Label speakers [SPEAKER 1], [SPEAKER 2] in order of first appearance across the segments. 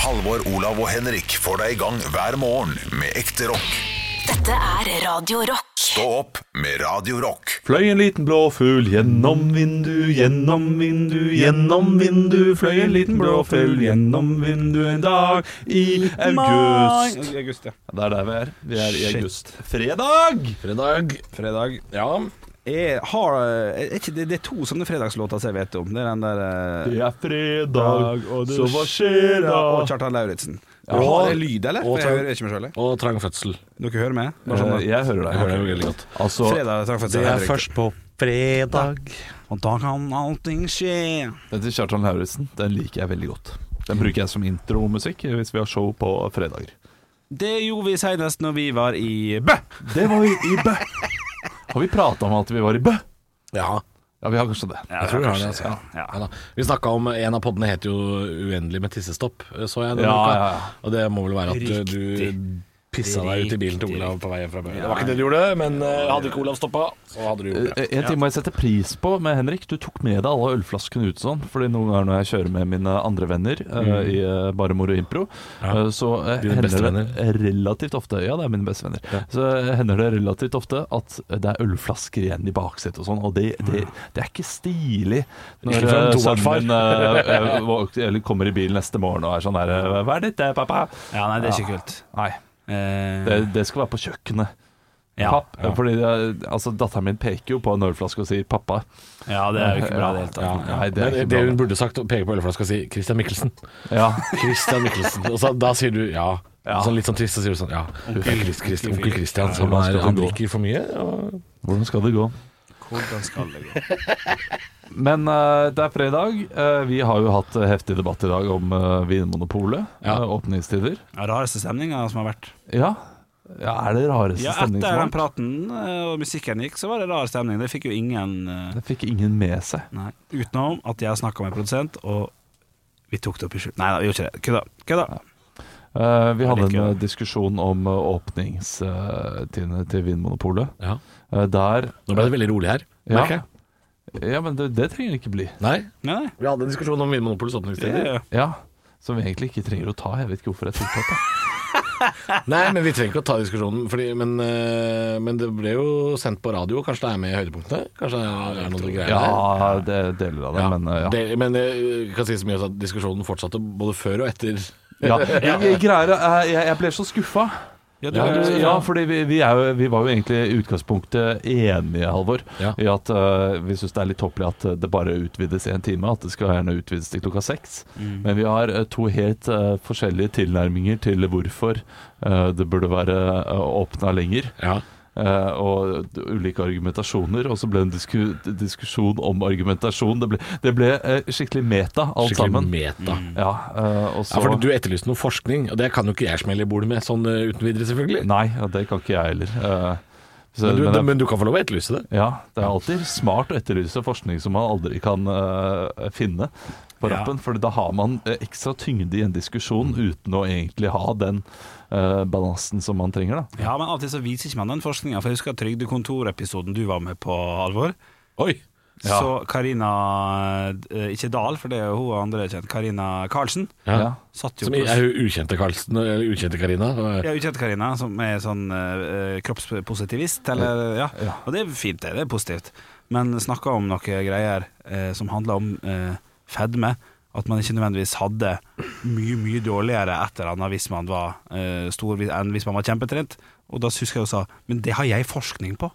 [SPEAKER 1] Halvor, Olav og Henrik får deg i gang hver morgen med ekte rock.
[SPEAKER 2] Dette er Radio Rock.
[SPEAKER 1] Stå opp med Radio Rock.
[SPEAKER 3] Fløy en liten blå fugl gjennom vindu, gjennom vindu, gjennom vindu. Fløy en liten blå fugl gjennom vindu en dag i august.
[SPEAKER 4] I august, ja.
[SPEAKER 3] Det er der vi er. Vi er i august. Fredag!
[SPEAKER 4] Fredag. Fredag. Ja. Jeg har, er ikke, det, det er to sånne fredagslåter som jeg vet om. Det er den der eh,
[SPEAKER 3] Det er fredag,
[SPEAKER 4] og det
[SPEAKER 3] så hva skjer da?
[SPEAKER 4] Og Kjartan Lauritzen. Har jeg lyd, eller?
[SPEAKER 5] og
[SPEAKER 4] For jeg
[SPEAKER 5] Tang-
[SPEAKER 4] hører ikke meg sjøl. jeg.
[SPEAKER 5] Og trang fødsel.
[SPEAKER 4] Dere hører meg? Bare sånn,
[SPEAKER 3] Eh, Jeg hører deg.
[SPEAKER 5] Jeg hører deg veldig godt.
[SPEAKER 3] Altså,
[SPEAKER 4] Fredag, takk for at
[SPEAKER 5] Det
[SPEAKER 4] jeg
[SPEAKER 5] er
[SPEAKER 4] hører riktig.
[SPEAKER 5] først på fredag.
[SPEAKER 4] Og da kan allting skje.
[SPEAKER 3] den til Kjartan Lauritzen, den liker jeg veldig godt. Den bruker jeg som intromusikk hvis vi har show på fredager.
[SPEAKER 4] Det gjorde vi senest når vi var i Bø.
[SPEAKER 3] Det var vi i Bø. Har vi prata om at vi var i Bø?
[SPEAKER 5] Ja,
[SPEAKER 3] Ja, vi har kanskje det.
[SPEAKER 5] jeg tror vi har det. Altså. Ja.
[SPEAKER 4] ja.
[SPEAKER 5] da. Vi snakka om En av poddene heter jo 'Uendelig med tissestopp', eh, så jeg denne
[SPEAKER 3] Ja,
[SPEAKER 5] uka.
[SPEAKER 3] ja, ja.
[SPEAKER 5] Og det må vel være at eh, du pissa deg ut i bilen til Olav på vei hjem fra Bø. Det var ikke det du gjorde, men eh, hadde ikke Olav stoppa, så hadde du gjort det.
[SPEAKER 3] Eh, En ting må jeg sette pris på med Henrik. Du tok med deg alle ølflaskene ut sånn. Fordi noen ganger når jeg kjører med mine andre venner eh, i eh, Bare Moro Impro,
[SPEAKER 5] Mm. Ja.
[SPEAKER 3] eh, så eh,
[SPEAKER 5] Dine beste
[SPEAKER 3] hender det relativt ofte Ja, det er mine beste venner. Så eh, hender det relativt ofte at det er ølflasker igjen i baksetet og sånn. Og det, det, det er ikke stilig når
[SPEAKER 5] Mm. Ikke for en
[SPEAKER 3] eh,
[SPEAKER 5] tobarnsfar.
[SPEAKER 3] sønnen min eh, eh, våk- eller kommer i bilen neste morgen og er sånn der eh, Hva er dette, pappa?
[SPEAKER 4] Ja, nei, det er ikke kult.
[SPEAKER 3] Nei,
[SPEAKER 4] Eh,
[SPEAKER 3] det, det skal være på kjøkkenet.
[SPEAKER 4] ja.
[SPEAKER 3] Papp, Fordi eh, altså, Datteren min peker jo på en ølflaske og sier 'pappa'.
[SPEAKER 4] ja, det er jo ikke bra i det hele tatt.
[SPEAKER 3] Nei, det er
[SPEAKER 5] Eh, Men
[SPEAKER 3] ikke
[SPEAKER 5] det
[SPEAKER 3] bra.
[SPEAKER 5] hun burde sagt, peke på ølflaska og si 'Christian Michelsen'.
[SPEAKER 3] Ja,
[SPEAKER 5] Christian Michelsen. Og så, da sier du ja.
[SPEAKER 3] Ja.
[SPEAKER 5] Sånn litt sånn trist, så sier du sånn ja. Onkel Chris- Chris- onkel Christian, som
[SPEAKER 3] hvordan
[SPEAKER 5] er,
[SPEAKER 3] skal det
[SPEAKER 5] han
[SPEAKER 3] gå?
[SPEAKER 5] drikker for mye. Og
[SPEAKER 3] Hvordan skal det gå?
[SPEAKER 4] Hvordan skal det gå?
[SPEAKER 3] Men eh, det er fredag. Eh, vi har jo hatt eh, heftig debatt i dag om eh, Vinmonopolet.
[SPEAKER 5] Ja.
[SPEAKER 3] eh, åpningstider.
[SPEAKER 4] Ja, Rareste stemninga som har vært.
[SPEAKER 3] Ja. ja, er det rareste
[SPEAKER 4] Ja, etter
[SPEAKER 3] stemning som
[SPEAKER 4] den
[SPEAKER 3] har vært?
[SPEAKER 4] praten eh, og musikken gikk, så var det rar stemning. Det fikk jo ingen eh,
[SPEAKER 3] Det fikk ingen med seg.
[SPEAKER 4] Nei. Utenom at jeg snakka med produsent, og vi tok det opp i skjul. Nei da, vi gjorde ikke det. Kødda. Kødda.
[SPEAKER 3] Eh, vi hadde
[SPEAKER 4] litt
[SPEAKER 3] en
[SPEAKER 4] gøy.
[SPEAKER 3] eh, diskusjon om uh, åpningstidene eh, til Vinmonopolet.
[SPEAKER 5] Ja.
[SPEAKER 3] Eh, der
[SPEAKER 5] Nå ble det veldig rolig her.
[SPEAKER 3] ja.
[SPEAKER 5] merker jeg.
[SPEAKER 3] ja, men det, det trenger det ikke bli.
[SPEAKER 5] Nei,
[SPEAKER 4] Nei, nei.
[SPEAKER 5] vi hadde en diskusjon om Vinmonopolets
[SPEAKER 4] Det,
[SPEAKER 5] åpningstider.
[SPEAKER 3] Ja, Som vi egentlig ikke trenger å ta. Jeg vet ikke hvorfor jeg tok det opp. jeg.
[SPEAKER 5] Nei, men vi trenger ikke å ta diskusjonen, fordi, men, eh, men det ble jo sendt på radio. Kanskje det er med i høydepunktene? Kanskje det er noe greier der?
[SPEAKER 3] Ja, det er deler av det, men eh, ja.
[SPEAKER 5] Det, men jeg kan si så mye at diskusjonen fortsatte både før og etter.
[SPEAKER 3] ja. Jeg, greier, eh, jeg, jeg ble så skuffa.
[SPEAKER 4] ja, du,
[SPEAKER 3] Ja,
[SPEAKER 4] ja,
[SPEAKER 3] du, ja fordi vi, vi, er jo, vi var jo egentlig i utgangspunktet enige, Halvor,
[SPEAKER 5] Ja.
[SPEAKER 3] i at øh, vi syns det er litt tåpelig at øh, det bare utvides i en time. At det skal gjerne utvides til klokka seks. Men vi har øh, to helt øh, forskjellige tilnærminger til hvorfor øh, det burde være uh, åpna lenger.
[SPEAKER 5] Ja.
[SPEAKER 3] eh, og d- ulike argumentasjoner. Og så ble det en disku diskusjon om argumentasjon. Det ble, det ble eh, skikkelig meta, alt
[SPEAKER 5] Skikkelig
[SPEAKER 3] sammen.
[SPEAKER 5] meta.
[SPEAKER 3] Ja, eh, og
[SPEAKER 5] Ja,
[SPEAKER 3] så
[SPEAKER 5] fordi Du etterlyste noe forskning, og det kan jo ikke jeg smelle i bordet med sånn eh, uten videre, selvfølgelig.
[SPEAKER 3] Nei, ja, det kan ikke jeg heller. eh, så-
[SPEAKER 5] Men du,
[SPEAKER 3] men jeg-
[SPEAKER 5] men du kan få lov å etterlyse det.
[SPEAKER 3] Ja, det er alltid smart å etterlyse forskning som man aldri kan øh, finne på
[SPEAKER 4] Ja.
[SPEAKER 3] rappen. For da har man øh, ekstra tyngde i en diskusjon
[SPEAKER 5] Mm.
[SPEAKER 3] uten å egentlig ha den øh, balansen som man trenger. da
[SPEAKER 4] men av og til så viser ikke man den forskninga. For jeg husker Trygdekontorepisoden du var med på, Alvor.
[SPEAKER 5] Oi!
[SPEAKER 3] Ja.
[SPEAKER 4] Så Karina eh, Ikke Dahl, for det er jo hun andre kjent. Karina Karlsen.
[SPEAKER 5] Ja.
[SPEAKER 3] Ja.
[SPEAKER 4] Satt jo
[SPEAKER 5] Som
[SPEAKER 4] på
[SPEAKER 5] er jo ukjente Karlsen, eller ukjente Karina. og- eh,
[SPEAKER 4] ja, ukjent Karina, som er sånn eh, kroppspositivist, eller ja.
[SPEAKER 3] Ja.
[SPEAKER 4] Og det er fint, det. Det er positivt. Men snakka om noen greier eh, som handla om eh, fedme. At man ikke nødvendigvis hadde mye mye dårligere et eller annet hvis man var eh, stor hvis- enn hvis man var kjempetrent. Og da husker jeg hun sa Men det har jeg forskning på.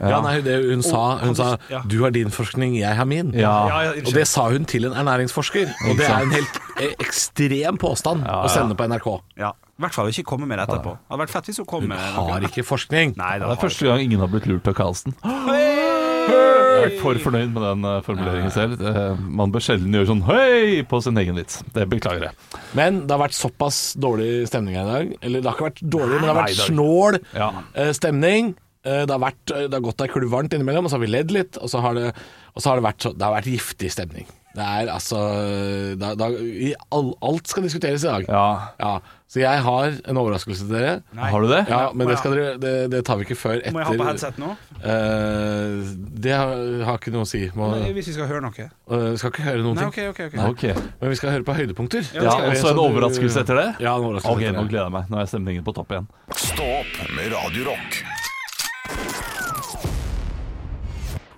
[SPEAKER 5] Ja, nei, det, hun sa, hun
[SPEAKER 4] Og-
[SPEAKER 5] sa
[SPEAKER 4] ja.
[SPEAKER 5] 'du har din forskning, jeg har min'.
[SPEAKER 3] Ja.
[SPEAKER 4] Ja, ja,
[SPEAKER 5] og det sa hun til en ernæringsforsker. Og det er en helt eh, ekstrem påstand å sende på NRK.
[SPEAKER 4] Ja. I hvert fall ikke komme med det etterpå. Det hadde vært fett hvis hun kom med noe.
[SPEAKER 5] Eh, Har ikke forskning.
[SPEAKER 4] Nei,
[SPEAKER 3] Det
[SPEAKER 4] da
[SPEAKER 3] er første gang ingen har blitt lurt av Karlsen. Jeg er for fornøyd med den øh, formuleringen selv. Eh, Man bør sjelden gjøre sånn høy på sin egen vits. Det beklager jeg.
[SPEAKER 5] Men det har vært såpass dårlig stemning her i dag. Eller det har ikke vært dårlig, men det har
[SPEAKER 3] Nei,
[SPEAKER 5] vært
[SPEAKER 3] det har-
[SPEAKER 5] snål
[SPEAKER 3] Ja.
[SPEAKER 5] eh, stemning. Eh, Det har, vært, eh, det har gått ei klubb varmt innimellom, og så har vi ledd litt. Og så har det, og så har det, vært, så, det har vært giftig stemning. Det er altså da, da, i all, Alt skal diskuteres i dag.
[SPEAKER 3] Ja.
[SPEAKER 5] Ja, Så jeg har en overraskelse til dere.
[SPEAKER 4] Nei.
[SPEAKER 3] Har du det?
[SPEAKER 5] Ja, Men
[SPEAKER 4] Må jeg-
[SPEAKER 5] det, skal dere, det, det tar vi ikke før etter
[SPEAKER 4] Må jeg ha på headset nå?
[SPEAKER 5] Eh, det har, har ikke noe å si. Må,
[SPEAKER 4] Nei, Hvis vi skal høre noe.
[SPEAKER 5] eh, vi skal ikke høre noen
[SPEAKER 4] Nei,
[SPEAKER 5] ting.
[SPEAKER 4] ok, ok, ok
[SPEAKER 3] Ok.
[SPEAKER 5] Men vi skal høre på høydepunkter.
[SPEAKER 4] det
[SPEAKER 3] Ja,
[SPEAKER 4] skal
[SPEAKER 3] og
[SPEAKER 5] vi.
[SPEAKER 3] så en
[SPEAKER 5] Så du-
[SPEAKER 3] overraskelse etter det?
[SPEAKER 5] Ja, en overraskelse
[SPEAKER 3] Ok,
[SPEAKER 5] etter
[SPEAKER 3] nå
[SPEAKER 5] det.
[SPEAKER 3] gleder jeg meg. Nå er stemningen på topp igjen.
[SPEAKER 1] Stå opp med Radio Rock.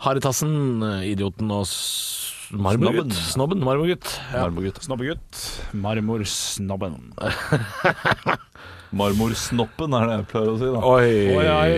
[SPEAKER 5] Haretassen, eh, idioten og s- marmorgutt.
[SPEAKER 3] Snobben.
[SPEAKER 5] Snobben, marmorgutt. Ja.
[SPEAKER 3] Marmorgutt.
[SPEAKER 4] Snobbegutt. Marmorsnobben.
[SPEAKER 3] Marmorsnoppen er det jeg pleier å si, da.
[SPEAKER 5] Oi,
[SPEAKER 4] Oi,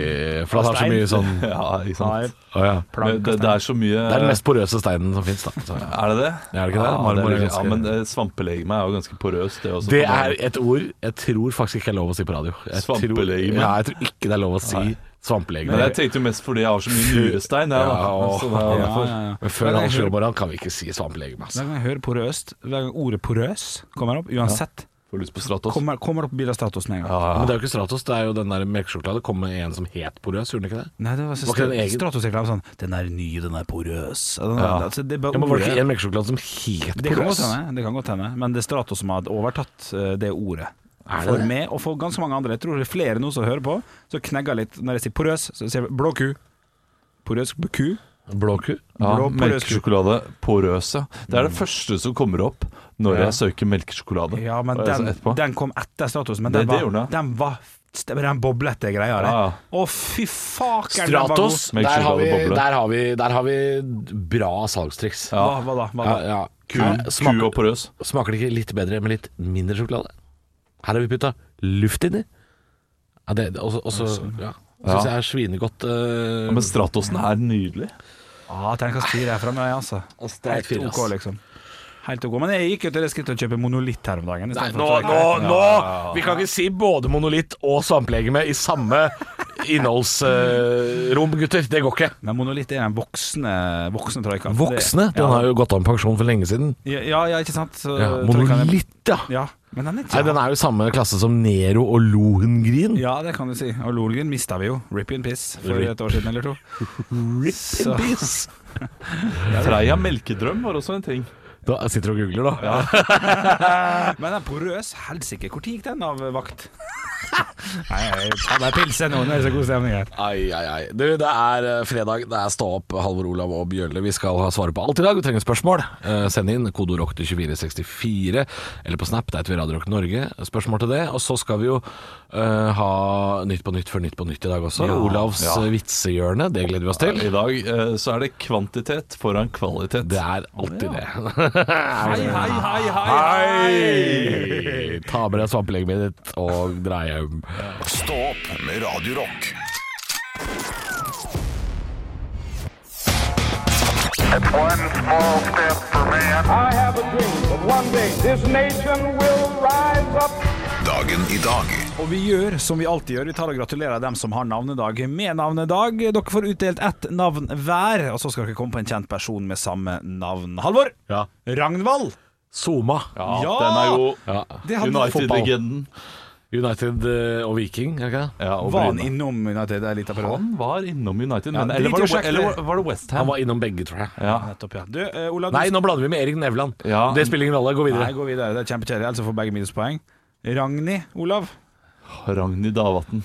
[SPEAKER 5] for han har så
[SPEAKER 4] Stein.
[SPEAKER 5] mye sånn
[SPEAKER 3] Ja, ikke sant.
[SPEAKER 5] Å ja.
[SPEAKER 3] Men det, det er så mye
[SPEAKER 5] Det er den mest porøse steinen som fins, da. Så.
[SPEAKER 3] Er det det?
[SPEAKER 5] Ja, er det ikke det?
[SPEAKER 3] Ja,
[SPEAKER 5] Marmor er
[SPEAKER 3] det er,
[SPEAKER 5] ganske-
[SPEAKER 3] ja men eh, svampelegeme er jo ganske porøst, det også. på
[SPEAKER 5] Det er
[SPEAKER 3] mange-
[SPEAKER 5] et ord jeg tror faktisk ikke er lov å si på radio. Jeg tror-
[SPEAKER 3] Svampelegeme.
[SPEAKER 5] Ja, jeg tror ikke det er lov å si svampelegeme.
[SPEAKER 3] Men jeg tenkte jo mest fordi jeg har så mye murestein, jeg, da.
[SPEAKER 5] Ja, og-
[SPEAKER 3] Så det er
[SPEAKER 4] Ja,
[SPEAKER 3] derfor.
[SPEAKER 4] ja, ja.
[SPEAKER 5] Men før han slår morgenen kan vi ikke si svampelegeme.
[SPEAKER 4] Hver
[SPEAKER 5] Altså.
[SPEAKER 4] gang jeg hører porøst, hver gang ordet porøs kommer opp, uansett,
[SPEAKER 3] Får lyst på Stratos.
[SPEAKER 4] kommer, kommer opp bilstatus med en gang.
[SPEAKER 5] Men det er jo ikke Stratos, det er jo den der melkesjokolade. Det kom med en som het porøs, gjorde den ikke det?
[SPEAKER 4] Nei, det var, så
[SPEAKER 5] Var ikke den egen?
[SPEAKER 4] Stratos gikk frem sånn Den er ny, den er porøs. Den er,
[SPEAKER 3] Ja.
[SPEAKER 4] altså, det, er bare
[SPEAKER 5] Ja, men Var det
[SPEAKER 4] ordet.
[SPEAKER 5] ikke en melkesjokolade som het
[SPEAKER 4] det kan
[SPEAKER 5] porøs?
[SPEAKER 4] godt hende, det kan godt hende. Men det er Stratos som har overtatt eh, det ordet.
[SPEAKER 5] Er det
[SPEAKER 4] for
[SPEAKER 5] det?
[SPEAKER 4] meg og for ganske mange andre. Jeg tror det er flere nå som hører på, som knegger litt når jeg sier porøs. Så sier jeg blå ku. Porøs ku.
[SPEAKER 5] Blå ku?
[SPEAKER 3] Ja,
[SPEAKER 4] Blå porøs-
[SPEAKER 3] melkesjokolade porøs, ja. Det er det første som kommer opp når
[SPEAKER 5] Ja.
[SPEAKER 3] jeg søker melkesjokolade.
[SPEAKER 4] Ja, men
[SPEAKER 3] Og jeg
[SPEAKER 4] den,
[SPEAKER 3] så etterpå.
[SPEAKER 4] den kom etter Stratos. Men
[SPEAKER 3] Det-
[SPEAKER 4] den
[SPEAKER 3] det
[SPEAKER 4] var,
[SPEAKER 3] gjorde den.
[SPEAKER 4] den var det var den boblete greia der.
[SPEAKER 3] Ja, ja.
[SPEAKER 4] Å, fy faken! den var god.
[SPEAKER 5] Stratos, der har, vi,
[SPEAKER 3] Melkesjokolade boble.
[SPEAKER 5] der, har vi, der har vi bra salgstriks.
[SPEAKER 3] Ja.
[SPEAKER 4] Hva, hva da? Hva da?
[SPEAKER 5] Ja, ja.
[SPEAKER 3] Ku,
[SPEAKER 5] Her
[SPEAKER 3] ku
[SPEAKER 5] smaker,
[SPEAKER 3] og porøs.
[SPEAKER 5] smaker det ikke litt bedre med litt mindre sjokolade? Her har vi putta luft inni. Ja, det, det, også, også, ja. Syns jeg er svinegodt. eh,
[SPEAKER 3] Ja, men Stratosen er nydelig.
[SPEAKER 4] Ja, terningkast fire er framme, altså.
[SPEAKER 5] er
[SPEAKER 4] Helt
[SPEAKER 5] fire,
[SPEAKER 4] OK,
[SPEAKER 5] ass.
[SPEAKER 4] liksom. Helt OK. Men jeg gikk jo til det skrittet å kjøpe monolitt her om dagen. i
[SPEAKER 5] Nei,
[SPEAKER 4] stedet for
[SPEAKER 5] nå, nå,
[SPEAKER 4] Tracker.
[SPEAKER 5] nå! Vi kan ikke si både monolitt og svampelegeme i samme innholdsrom, gutter. Det går ikke.
[SPEAKER 4] Men monolitt er den voksne, voksne troikaen.
[SPEAKER 5] Voksne,
[SPEAKER 4] Det-
[SPEAKER 5] den
[SPEAKER 4] ja.
[SPEAKER 5] har jo gått av med pensjon for lenge siden.
[SPEAKER 4] Ja, ja, ikke sant? Så
[SPEAKER 5] Ja,
[SPEAKER 4] troikaen er-
[SPEAKER 5] monolitt, ja.
[SPEAKER 4] Ja, men den er ikke
[SPEAKER 5] Nei, den er jo i samme klasse som Nero og Lohengrin.
[SPEAKER 4] Ja, det kan du si. Og Lolgren mista vi jo. Rip in piss for
[SPEAKER 5] Rip.
[SPEAKER 4] et år siden eller to.
[SPEAKER 5] Rip
[SPEAKER 4] Så-
[SPEAKER 5] peace.
[SPEAKER 3] Freia melkedrøm var også en ting.
[SPEAKER 5] Da jeg sitter og googler, da.
[SPEAKER 4] Men den porøs helsike, når gikk den av vakt? Nei, ta deg pilse nå, nå er det så god stemning her.
[SPEAKER 5] Ai, ai, ai. Du, det er eh, fredag, det er Stå opp, Halvor Olav og Bjørle. Vi skal ha svaret på alt i dag. Vi trenger spørsmål. Eh, send inn kodeord rock til 2464, eller på Snap, der heter vi Radio Rock Norge. Spørsmål til det. Og så skal vi jo eh, ha Nytt på nytt før Nytt på nytt i dag også. Olavs
[SPEAKER 3] ja.
[SPEAKER 5] eh, vitsehjørne, det gleder vi oss til.
[SPEAKER 3] I dag eh, så er det kvantitet foran kvalitet.
[SPEAKER 5] Det er alltid det.
[SPEAKER 4] Hei, hei, hei, hei,
[SPEAKER 5] Hei! Ta med deg svampelegget ditt og dra hjem.
[SPEAKER 1] Stå opp med Radio Rock.
[SPEAKER 6] One small step for man.
[SPEAKER 7] I have a dream that one day this nation will rise up.
[SPEAKER 1] Dagen i dag.
[SPEAKER 4] Og vi gjør som vi alltid gjør, vi tar og gratulerer dem som har navnedag med navnedag. Dere får utdelt ett navn hver, og så skal dere komme på en kjent person med samme navn. Halvor!
[SPEAKER 5] Ja.
[SPEAKER 4] Ragnvald!
[SPEAKER 5] Soma.
[SPEAKER 3] Ja,
[SPEAKER 4] Ja!
[SPEAKER 3] den er god.
[SPEAKER 5] Ja.
[SPEAKER 4] Det hadde
[SPEAKER 5] fotball.
[SPEAKER 3] United-legenden.
[SPEAKER 5] United eh, og Viking, er det ikke det?
[SPEAKER 3] Ja, og
[SPEAKER 4] Var han
[SPEAKER 3] Bryne.
[SPEAKER 4] innom United en liten periode?
[SPEAKER 3] Han var innom United, men,
[SPEAKER 4] drit
[SPEAKER 3] eller, var
[SPEAKER 4] i å
[SPEAKER 3] det,
[SPEAKER 4] sjekke
[SPEAKER 3] eller
[SPEAKER 4] det.
[SPEAKER 3] var- var det West
[SPEAKER 5] Han
[SPEAKER 3] Ham?
[SPEAKER 5] var innom begge, tror jeg.
[SPEAKER 3] Ja.
[SPEAKER 4] Nettopp, ja. Du, eh, Olav
[SPEAKER 5] Nei,
[SPEAKER 4] du-
[SPEAKER 5] nå blander vi med Erik Nevland.
[SPEAKER 3] Ja.
[SPEAKER 5] Det spiller ingen rolle. Gå
[SPEAKER 4] Nei,
[SPEAKER 5] videre.
[SPEAKER 4] gå videre. Det er kjempekjedelig, ellers får begge minuspoeng. Ragnhild, Olav.
[SPEAKER 3] Ragnhild Davatn.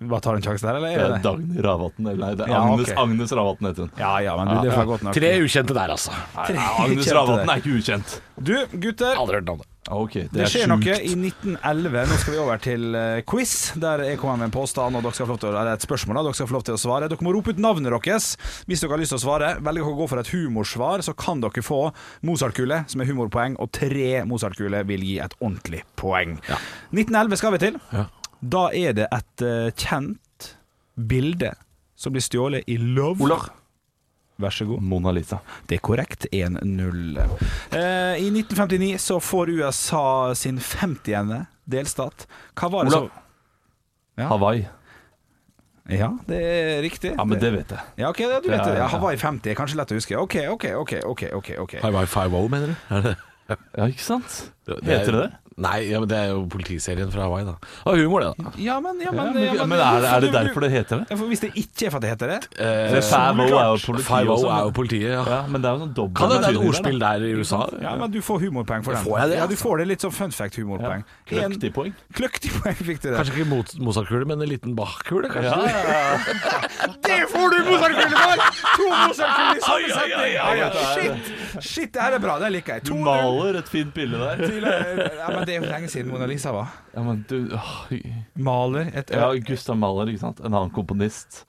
[SPEAKER 4] Bare tar en sjanse der, eller?
[SPEAKER 3] Det
[SPEAKER 4] Er
[SPEAKER 3] er
[SPEAKER 4] det det?
[SPEAKER 3] Dagny Ravatn. Eller nei, det er
[SPEAKER 4] Ja,
[SPEAKER 3] Agnes,
[SPEAKER 4] ok.
[SPEAKER 3] Agnes Ravatn heter hun.
[SPEAKER 4] Ja ja, men du, det er for godt nok.
[SPEAKER 5] Tre ukjente der, altså.
[SPEAKER 3] Nei, Agnes
[SPEAKER 4] Kjente
[SPEAKER 3] Ravatn
[SPEAKER 4] det.
[SPEAKER 3] er ikke ukjent.
[SPEAKER 4] Du, gutter.
[SPEAKER 5] Aldri hørt om det.
[SPEAKER 3] Ok, det,
[SPEAKER 4] Det
[SPEAKER 3] er
[SPEAKER 4] skjer noe
[SPEAKER 3] sjukt.
[SPEAKER 4] i 1911. Nå skal vi over til eh, quiz, der jeg kommer med en påstand og dere skal få lov til å, eller et spørsmål. Da. Dere skal få lov til å svare. Dere må rope ut navnet deres hvis dere har lyst til å svare. Velger dere å gå for et humorsvar, så kan dere få Mozart-kule, som er humorpoeng, og tre Mozart-kuler vil gi et ordentlig poeng. 1911 skal vi til.
[SPEAKER 5] Ja.
[SPEAKER 4] Da er det et eh, kjent bilde som blir stjålet i Love. Vær så god.
[SPEAKER 3] Mona Lisa.
[SPEAKER 4] Det er korrekt. 1-0. Eh, I 1959 så får USA sin 50. delstat. Hva var det
[SPEAKER 3] Olav.
[SPEAKER 4] som Ja.
[SPEAKER 3] Hawaii.
[SPEAKER 4] Ja, det er riktig.
[SPEAKER 3] Ja, men det vet jeg.
[SPEAKER 4] Ja, ok, ja, du vet
[SPEAKER 3] Ja,
[SPEAKER 4] det.
[SPEAKER 3] ja,
[SPEAKER 4] Ja,
[SPEAKER 3] ja.
[SPEAKER 4] Hawaii 50 er kanskje lett å huske. OK, OK, OK. ok, ok, ok
[SPEAKER 5] High Five Five O, mener du? Er det?
[SPEAKER 3] Ja, ikke sant? Heter det det?
[SPEAKER 5] Nei, ja, men det er jo politiserien fra Hawaii, da. Og humor, det, da.
[SPEAKER 4] Ja, men, ja,
[SPEAKER 3] Ja,
[SPEAKER 4] men,
[SPEAKER 3] men, men er, det- er det derfor det heter det?
[SPEAKER 4] Ja, for Hvis det ikke er for at det heter det
[SPEAKER 5] Eh,
[SPEAKER 3] Det er Five-O er jo politi
[SPEAKER 5] Five-O
[SPEAKER 3] også,
[SPEAKER 5] er
[SPEAKER 3] men-
[SPEAKER 5] jo politiet, ja.
[SPEAKER 3] Ja, men det er jo sånn dobbel
[SPEAKER 5] Kan det være et
[SPEAKER 3] betydning der, da.
[SPEAKER 5] ordspill der i USA?
[SPEAKER 4] Ja, men du får humorpoeng for den.
[SPEAKER 5] Får jeg det,
[SPEAKER 4] Ja, du
[SPEAKER 5] altså?
[SPEAKER 4] får det litt sånn fun fact-humorpoeng.
[SPEAKER 3] Ja.
[SPEAKER 4] En-
[SPEAKER 3] Kløktig poeng.
[SPEAKER 4] Kløktig poeng fikk du det.
[SPEAKER 5] Kanskje ikke mot- Mozart-kule, men en liten Bach-kule, kanskje?
[SPEAKER 4] Det får du, Mozart-kuler for! To Mozart-kuler i samme
[SPEAKER 5] Ai,
[SPEAKER 4] setning!
[SPEAKER 5] ai, ai, ai, ai.
[SPEAKER 4] Ja, Shit, shit, det her er bra. Det liker jeg.
[SPEAKER 3] Du
[SPEAKER 4] 2-0
[SPEAKER 3] maler et fint bilde der.
[SPEAKER 4] til, eh, Ja, men det er jo lenge siden Mona Lisa var.
[SPEAKER 3] Ja, men du åh,
[SPEAKER 4] Maler et
[SPEAKER 3] Ja, Gustav Mahler, ikke sant? En annen komponist.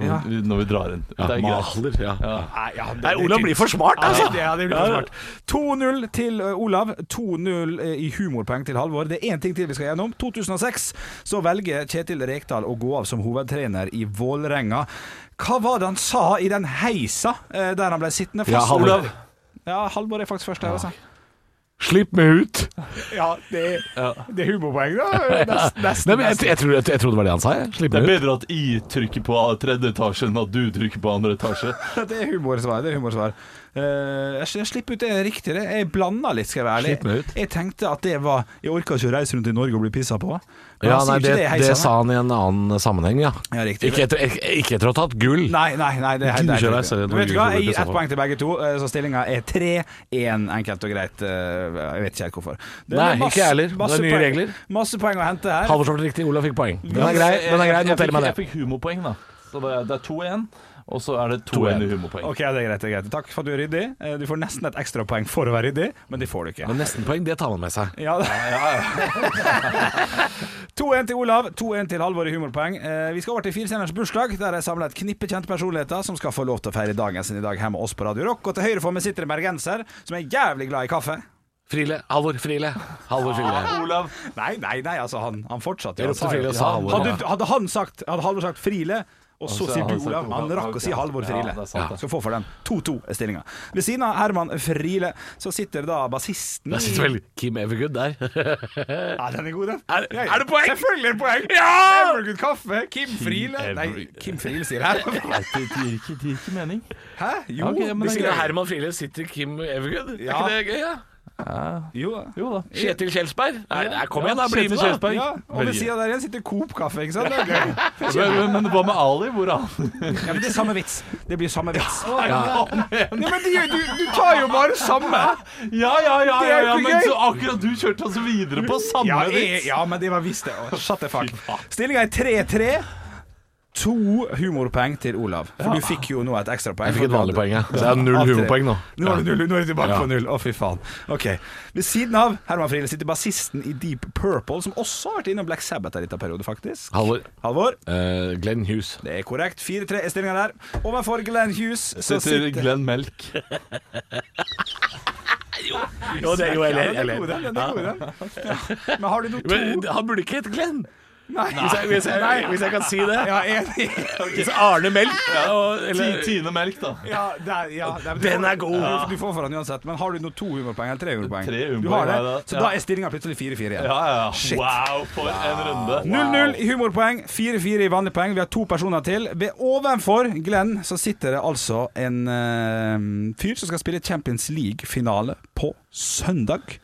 [SPEAKER 3] Som
[SPEAKER 4] Ja.
[SPEAKER 3] vi, når vi drar inn.
[SPEAKER 5] Ja,
[SPEAKER 3] det er greit.
[SPEAKER 5] maler, ja.
[SPEAKER 4] Nei, ja, det-
[SPEAKER 5] Nei,
[SPEAKER 4] det-
[SPEAKER 5] Olav blir for smart,
[SPEAKER 4] Ja,
[SPEAKER 5] altså!
[SPEAKER 4] det, ja, det blir for smart. 2-0 til eh, Olav, 2-0 i humorpoeng til Halvor. Det er én ting til vi skal gjennom. 2006 så velger Kjetil Rekdal å gå av som hovedtrener i Vålerenga. Hva var det han sa i den heisa eh, der han ble sittende fast?
[SPEAKER 5] Ja, Halvor.
[SPEAKER 4] Olav? Ja, Halvor er faktisk først her, altså.
[SPEAKER 5] Slipp meg ut!
[SPEAKER 4] Ja, det, er humorpoeng, da. Nesten.
[SPEAKER 5] Nei, men jeg, jeg, tror, jeg, jeg trodde det var det han sa. jeg. Slipp
[SPEAKER 3] Det er
[SPEAKER 5] meg ut.
[SPEAKER 3] bedre at I trykker på tredje etasje enn at du trykker på andre etasje.
[SPEAKER 4] Det er humorsvar. Det er humorsvar. Eh, jeg, jeg slipper ut det riktige. det. Jeg blanda litt, skal jeg være ærlig.
[SPEAKER 5] Slipp meg ut.
[SPEAKER 4] Jeg tenkte at det var Jeg orka ikke å reise rundt i Norge og bli pissa på. Men
[SPEAKER 5] Ja,
[SPEAKER 4] han sier
[SPEAKER 5] nei,
[SPEAKER 4] ikke
[SPEAKER 5] det,
[SPEAKER 4] i heisen,
[SPEAKER 5] det
[SPEAKER 4] da.
[SPEAKER 5] sa han i en annen sammenheng, ja.
[SPEAKER 4] Ja, riktig.
[SPEAKER 5] Ikke etter, ikke- ikke etter å ha tatt gull.
[SPEAKER 4] Nei, nei, nei det er helt
[SPEAKER 5] Du
[SPEAKER 4] det er
[SPEAKER 5] kjører
[SPEAKER 4] helt
[SPEAKER 5] deg
[SPEAKER 4] riktig.
[SPEAKER 5] selv gjennom
[SPEAKER 4] Vet du hva,
[SPEAKER 5] Google
[SPEAKER 4] Jeg gir
[SPEAKER 5] i så
[SPEAKER 4] ett
[SPEAKER 5] fall.
[SPEAKER 4] poeng til begge to, eh, så stillinga er 3-1, enkelt og greit. eh, Jeg vet ikke helt hvorfor. Det er
[SPEAKER 5] Nei,
[SPEAKER 4] masse-
[SPEAKER 5] ikke jeg heller. Det er
[SPEAKER 4] masse
[SPEAKER 5] nye
[SPEAKER 4] poeng-
[SPEAKER 5] regler.
[SPEAKER 4] Masse poeng å hente her.
[SPEAKER 5] Halvor svarte riktig, Olav fikk poeng. Den er grei, den er
[SPEAKER 3] Jeg
[SPEAKER 5] grei, noterer
[SPEAKER 3] fikk-
[SPEAKER 5] meg
[SPEAKER 3] Jeg
[SPEAKER 5] det.
[SPEAKER 3] fikk humorpoeng, da. Så det er, det er 2-1, og så er det 2-1
[SPEAKER 5] 2-1.
[SPEAKER 3] i humorpoeng.
[SPEAKER 4] Ok, det er greit, det er greit. Takk for at du er ryddig. Eh, Du får nesten et ekstrapoeng for å være ryddig, men det får du ikke.
[SPEAKER 5] Men nestenpoeng, det tar man med seg.
[SPEAKER 4] Ja, 2-1 til Olav, 2-1 til Halvor i humorpoeng. Eh, Vi skal over til Firestjerners bursdag, der jeg samler et knippe kjente personligheter som skal få lov til å feire dagen sin i dag her med oss på Radio Rock. Og til høyre for meg sitter en bergenser som er jævlig glad i kaffe.
[SPEAKER 5] Friele. Halvor Friele. Halvor Friele.
[SPEAKER 3] Olav,
[SPEAKER 4] Nei, nei, nei, altså han, han fortsatte. jo, han sa
[SPEAKER 5] Jeg ropte
[SPEAKER 4] jo-
[SPEAKER 5] Friele og sa Halvor.
[SPEAKER 4] hadde, hadde han sagt Hadde Halvor sagt Friele, og så
[SPEAKER 3] så
[SPEAKER 4] sier
[SPEAKER 3] hadde han
[SPEAKER 4] du
[SPEAKER 3] sagt
[SPEAKER 4] Olav. Han
[SPEAKER 3] Olav.
[SPEAKER 4] rakk å si
[SPEAKER 3] Ok.
[SPEAKER 4] Halvor
[SPEAKER 3] Ja,
[SPEAKER 4] Friele.
[SPEAKER 3] det er sant, det.
[SPEAKER 4] Skal få for den. 2-2 er stillinga. Ved siden av Herman Friele så sitter da bassisten
[SPEAKER 5] Der sitter vel Kim Evergood der.
[SPEAKER 4] Ja, den er god, den.
[SPEAKER 5] Er-
[SPEAKER 4] Ja,
[SPEAKER 5] er det poeng?
[SPEAKER 4] Selvfølgelig er det poeng! Ja! Evergood Kaffe. Kim Friele Nei, Kim Friele sier her.
[SPEAKER 3] det gir ikke, det gir ikke mening.
[SPEAKER 4] Hæ? Jo,
[SPEAKER 3] Ok, men
[SPEAKER 4] vi
[SPEAKER 3] det er
[SPEAKER 4] sier
[SPEAKER 5] Sitter
[SPEAKER 3] greit.
[SPEAKER 5] Herman Friele, sitter Kim Evergood. Er
[SPEAKER 4] Ja.
[SPEAKER 5] ikke det gøy, ja?
[SPEAKER 4] Jo, da.
[SPEAKER 3] Jo da.
[SPEAKER 5] Kjetil Kjelsberg. Nei, nei, kom igjen, da. Bli
[SPEAKER 3] Kjetil
[SPEAKER 5] med, da.
[SPEAKER 3] Kjelsberg.
[SPEAKER 4] Ja, og ved
[SPEAKER 3] Veldig.
[SPEAKER 4] siden av der igjen sitter Coop Kaffe, ikke sant? Det er
[SPEAKER 3] Men,
[SPEAKER 4] gøy.
[SPEAKER 3] men hva med Ali? Hvor er han?
[SPEAKER 4] Ja, men det er samme vits. Det blir samme vits. Ja, men det gjør- du, du tar jo bare samme.
[SPEAKER 3] Ja, ja, ja,
[SPEAKER 4] Det
[SPEAKER 3] ja,
[SPEAKER 4] er jo
[SPEAKER 3] ja
[SPEAKER 4] ikke
[SPEAKER 3] men
[SPEAKER 4] gøy.
[SPEAKER 3] så akkurat du kjørte oss videre på samme
[SPEAKER 4] Ja, jeg,
[SPEAKER 3] vits.
[SPEAKER 4] ja, men det var visst det. Å, Shut the fuck. Stillinga er 3-3. To humorpoeng til Olav. For du fikk jo nå et ekstrapoeng.
[SPEAKER 5] Jeg fikk et vanlig poeng, ja. Så jeg har null
[SPEAKER 4] Av tre.
[SPEAKER 5] humorpoeng nå.
[SPEAKER 4] Nå er det null, nå er det tilbake
[SPEAKER 5] Ja.
[SPEAKER 4] på null. Å, fy faen. Ok. Ved siden av Herman Friele sitter bassisten i Deep Purple, som også har vært innom Black Sabbath en liten periode, faktisk.
[SPEAKER 5] Halvor.
[SPEAKER 4] Halvor.
[SPEAKER 5] eh, Glenn Hughes.
[SPEAKER 4] Det er korrekt. 4-3 er stillinga der. Overfor Glenn Hughes så
[SPEAKER 3] Sitter
[SPEAKER 4] sitter
[SPEAKER 3] Glenn Melk.
[SPEAKER 5] Jo, det er jo
[SPEAKER 4] Ja, den er god, den. den er god, den. Ja. Men har du noe to?
[SPEAKER 5] Men eh, han burde ikke hete Glenn.
[SPEAKER 4] Nei.
[SPEAKER 5] Hvis jeg, hvis jeg, hvis jeg kan si det.
[SPEAKER 4] Ja, enig.
[SPEAKER 5] Hvis Arne Melk og,
[SPEAKER 3] Ti-
[SPEAKER 5] eller,
[SPEAKER 3] Tine Melk, da.
[SPEAKER 4] Ja, der, ja, der, men du
[SPEAKER 5] Den
[SPEAKER 4] får-
[SPEAKER 5] er god.
[SPEAKER 4] Du- Du får for den uansett. Men har du nå to humorpoeng eller tre humorpoeng?
[SPEAKER 3] Tre
[SPEAKER 4] du
[SPEAKER 3] humorpoeng
[SPEAKER 4] har
[SPEAKER 3] har jeg
[SPEAKER 4] det.
[SPEAKER 3] da.
[SPEAKER 4] Så
[SPEAKER 3] Ja.
[SPEAKER 4] da er stillinga plutselig 4-4 igjen.
[SPEAKER 3] Ja, ja.
[SPEAKER 4] Shit.
[SPEAKER 3] Wow, for en runde.
[SPEAKER 4] 0-0 i humorpoeng, 4-4 i vanlige poeng. Vi har to personer til. Ved ovenfor Glenn så sitter det altså en eh, fyr som skal spille Champions League-finale på søndag.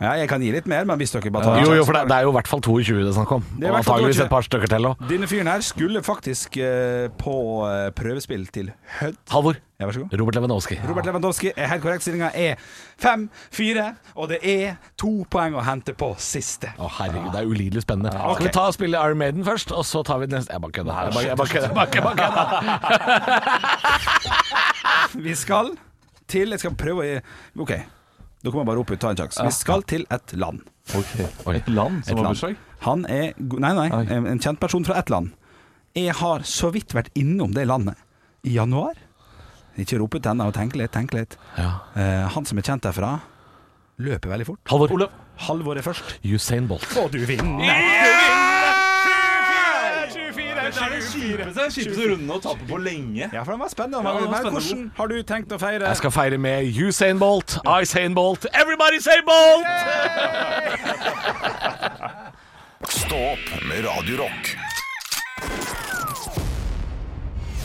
[SPEAKER 4] Ja, jeg kan gi litt mer, men hvis dere bare tar
[SPEAKER 5] Jo, jo, for det, det er jo i hvert fall 22 det er snakk om.
[SPEAKER 4] Det er i
[SPEAKER 5] Og
[SPEAKER 4] hvert fall
[SPEAKER 5] antageligvis
[SPEAKER 4] 22.
[SPEAKER 5] et par stykker til òg.
[SPEAKER 4] Denne fyren her skulle faktisk eh, på eh, prøvespill til Hødd.
[SPEAKER 5] Halvor.
[SPEAKER 4] Ja, vær så god.
[SPEAKER 5] Robert Lewandowski.
[SPEAKER 4] Robert Lewandowski er helt korrekt. Stillinga er 5-4, og det er to poeng å hente på siste.
[SPEAKER 5] Å herregud, det er ulidelig spennende.
[SPEAKER 4] Ok.
[SPEAKER 5] Skal vi ta og spille Iron Maiden først, og så tar vi den neste Jeg bare kødder. Jeg bare- jeg bare kødder. jeg bare kødder, jeg bare kødder.
[SPEAKER 4] Vi skal til Jeg skal prøve å OK. Da kommer jeg bare opp ut, ta en sjanse. Vi skal til et land.
[SPEAKER 5] Oi.
[SPEAKER 3] Et land
[SPEAKER 4] Et
[SPEAKER 3] som har
[SPEAKER 4] land.
[SPEAKER 3] bursdag?
[SPEAKER 4] Han er go- Nei, nei.
[SPEAKER 3] Oi.
[SPEAKER 4] En en kjent person fra ett land. Jeg har så vidt vært innom det landet i januar. Ikke rop ut ennå, tenk litt, tenk litt.
[SPEAKER 5] Ja.
[SPEAKER 4] Eh, han som er kjent derfra, løper veldig fort.
[SPEAKER 5] Halvor.
[SPEAKER 4] Halvor er først.
[SPEAKER 5] Usain Bolt.
[SPEAKER 4] Og du vinner!
[SPEAKER 3] Det er kjipeste runden å tape på lenge.
[SPEAKER 4] Ja, for den var spennende.
[SPEAKER 3] Ja, den var
[SPEAKER 4] Men
[SPEAKER 3] spennende.
[SPEAKER 4] hvordan har du tenkt å feire?
[SPEAKER 5] Jeg skal feire med Usain Bolt, Isain Bolt, Everybody say Bolt!
[SPEAKER 1] Stå opp med Radio Rock.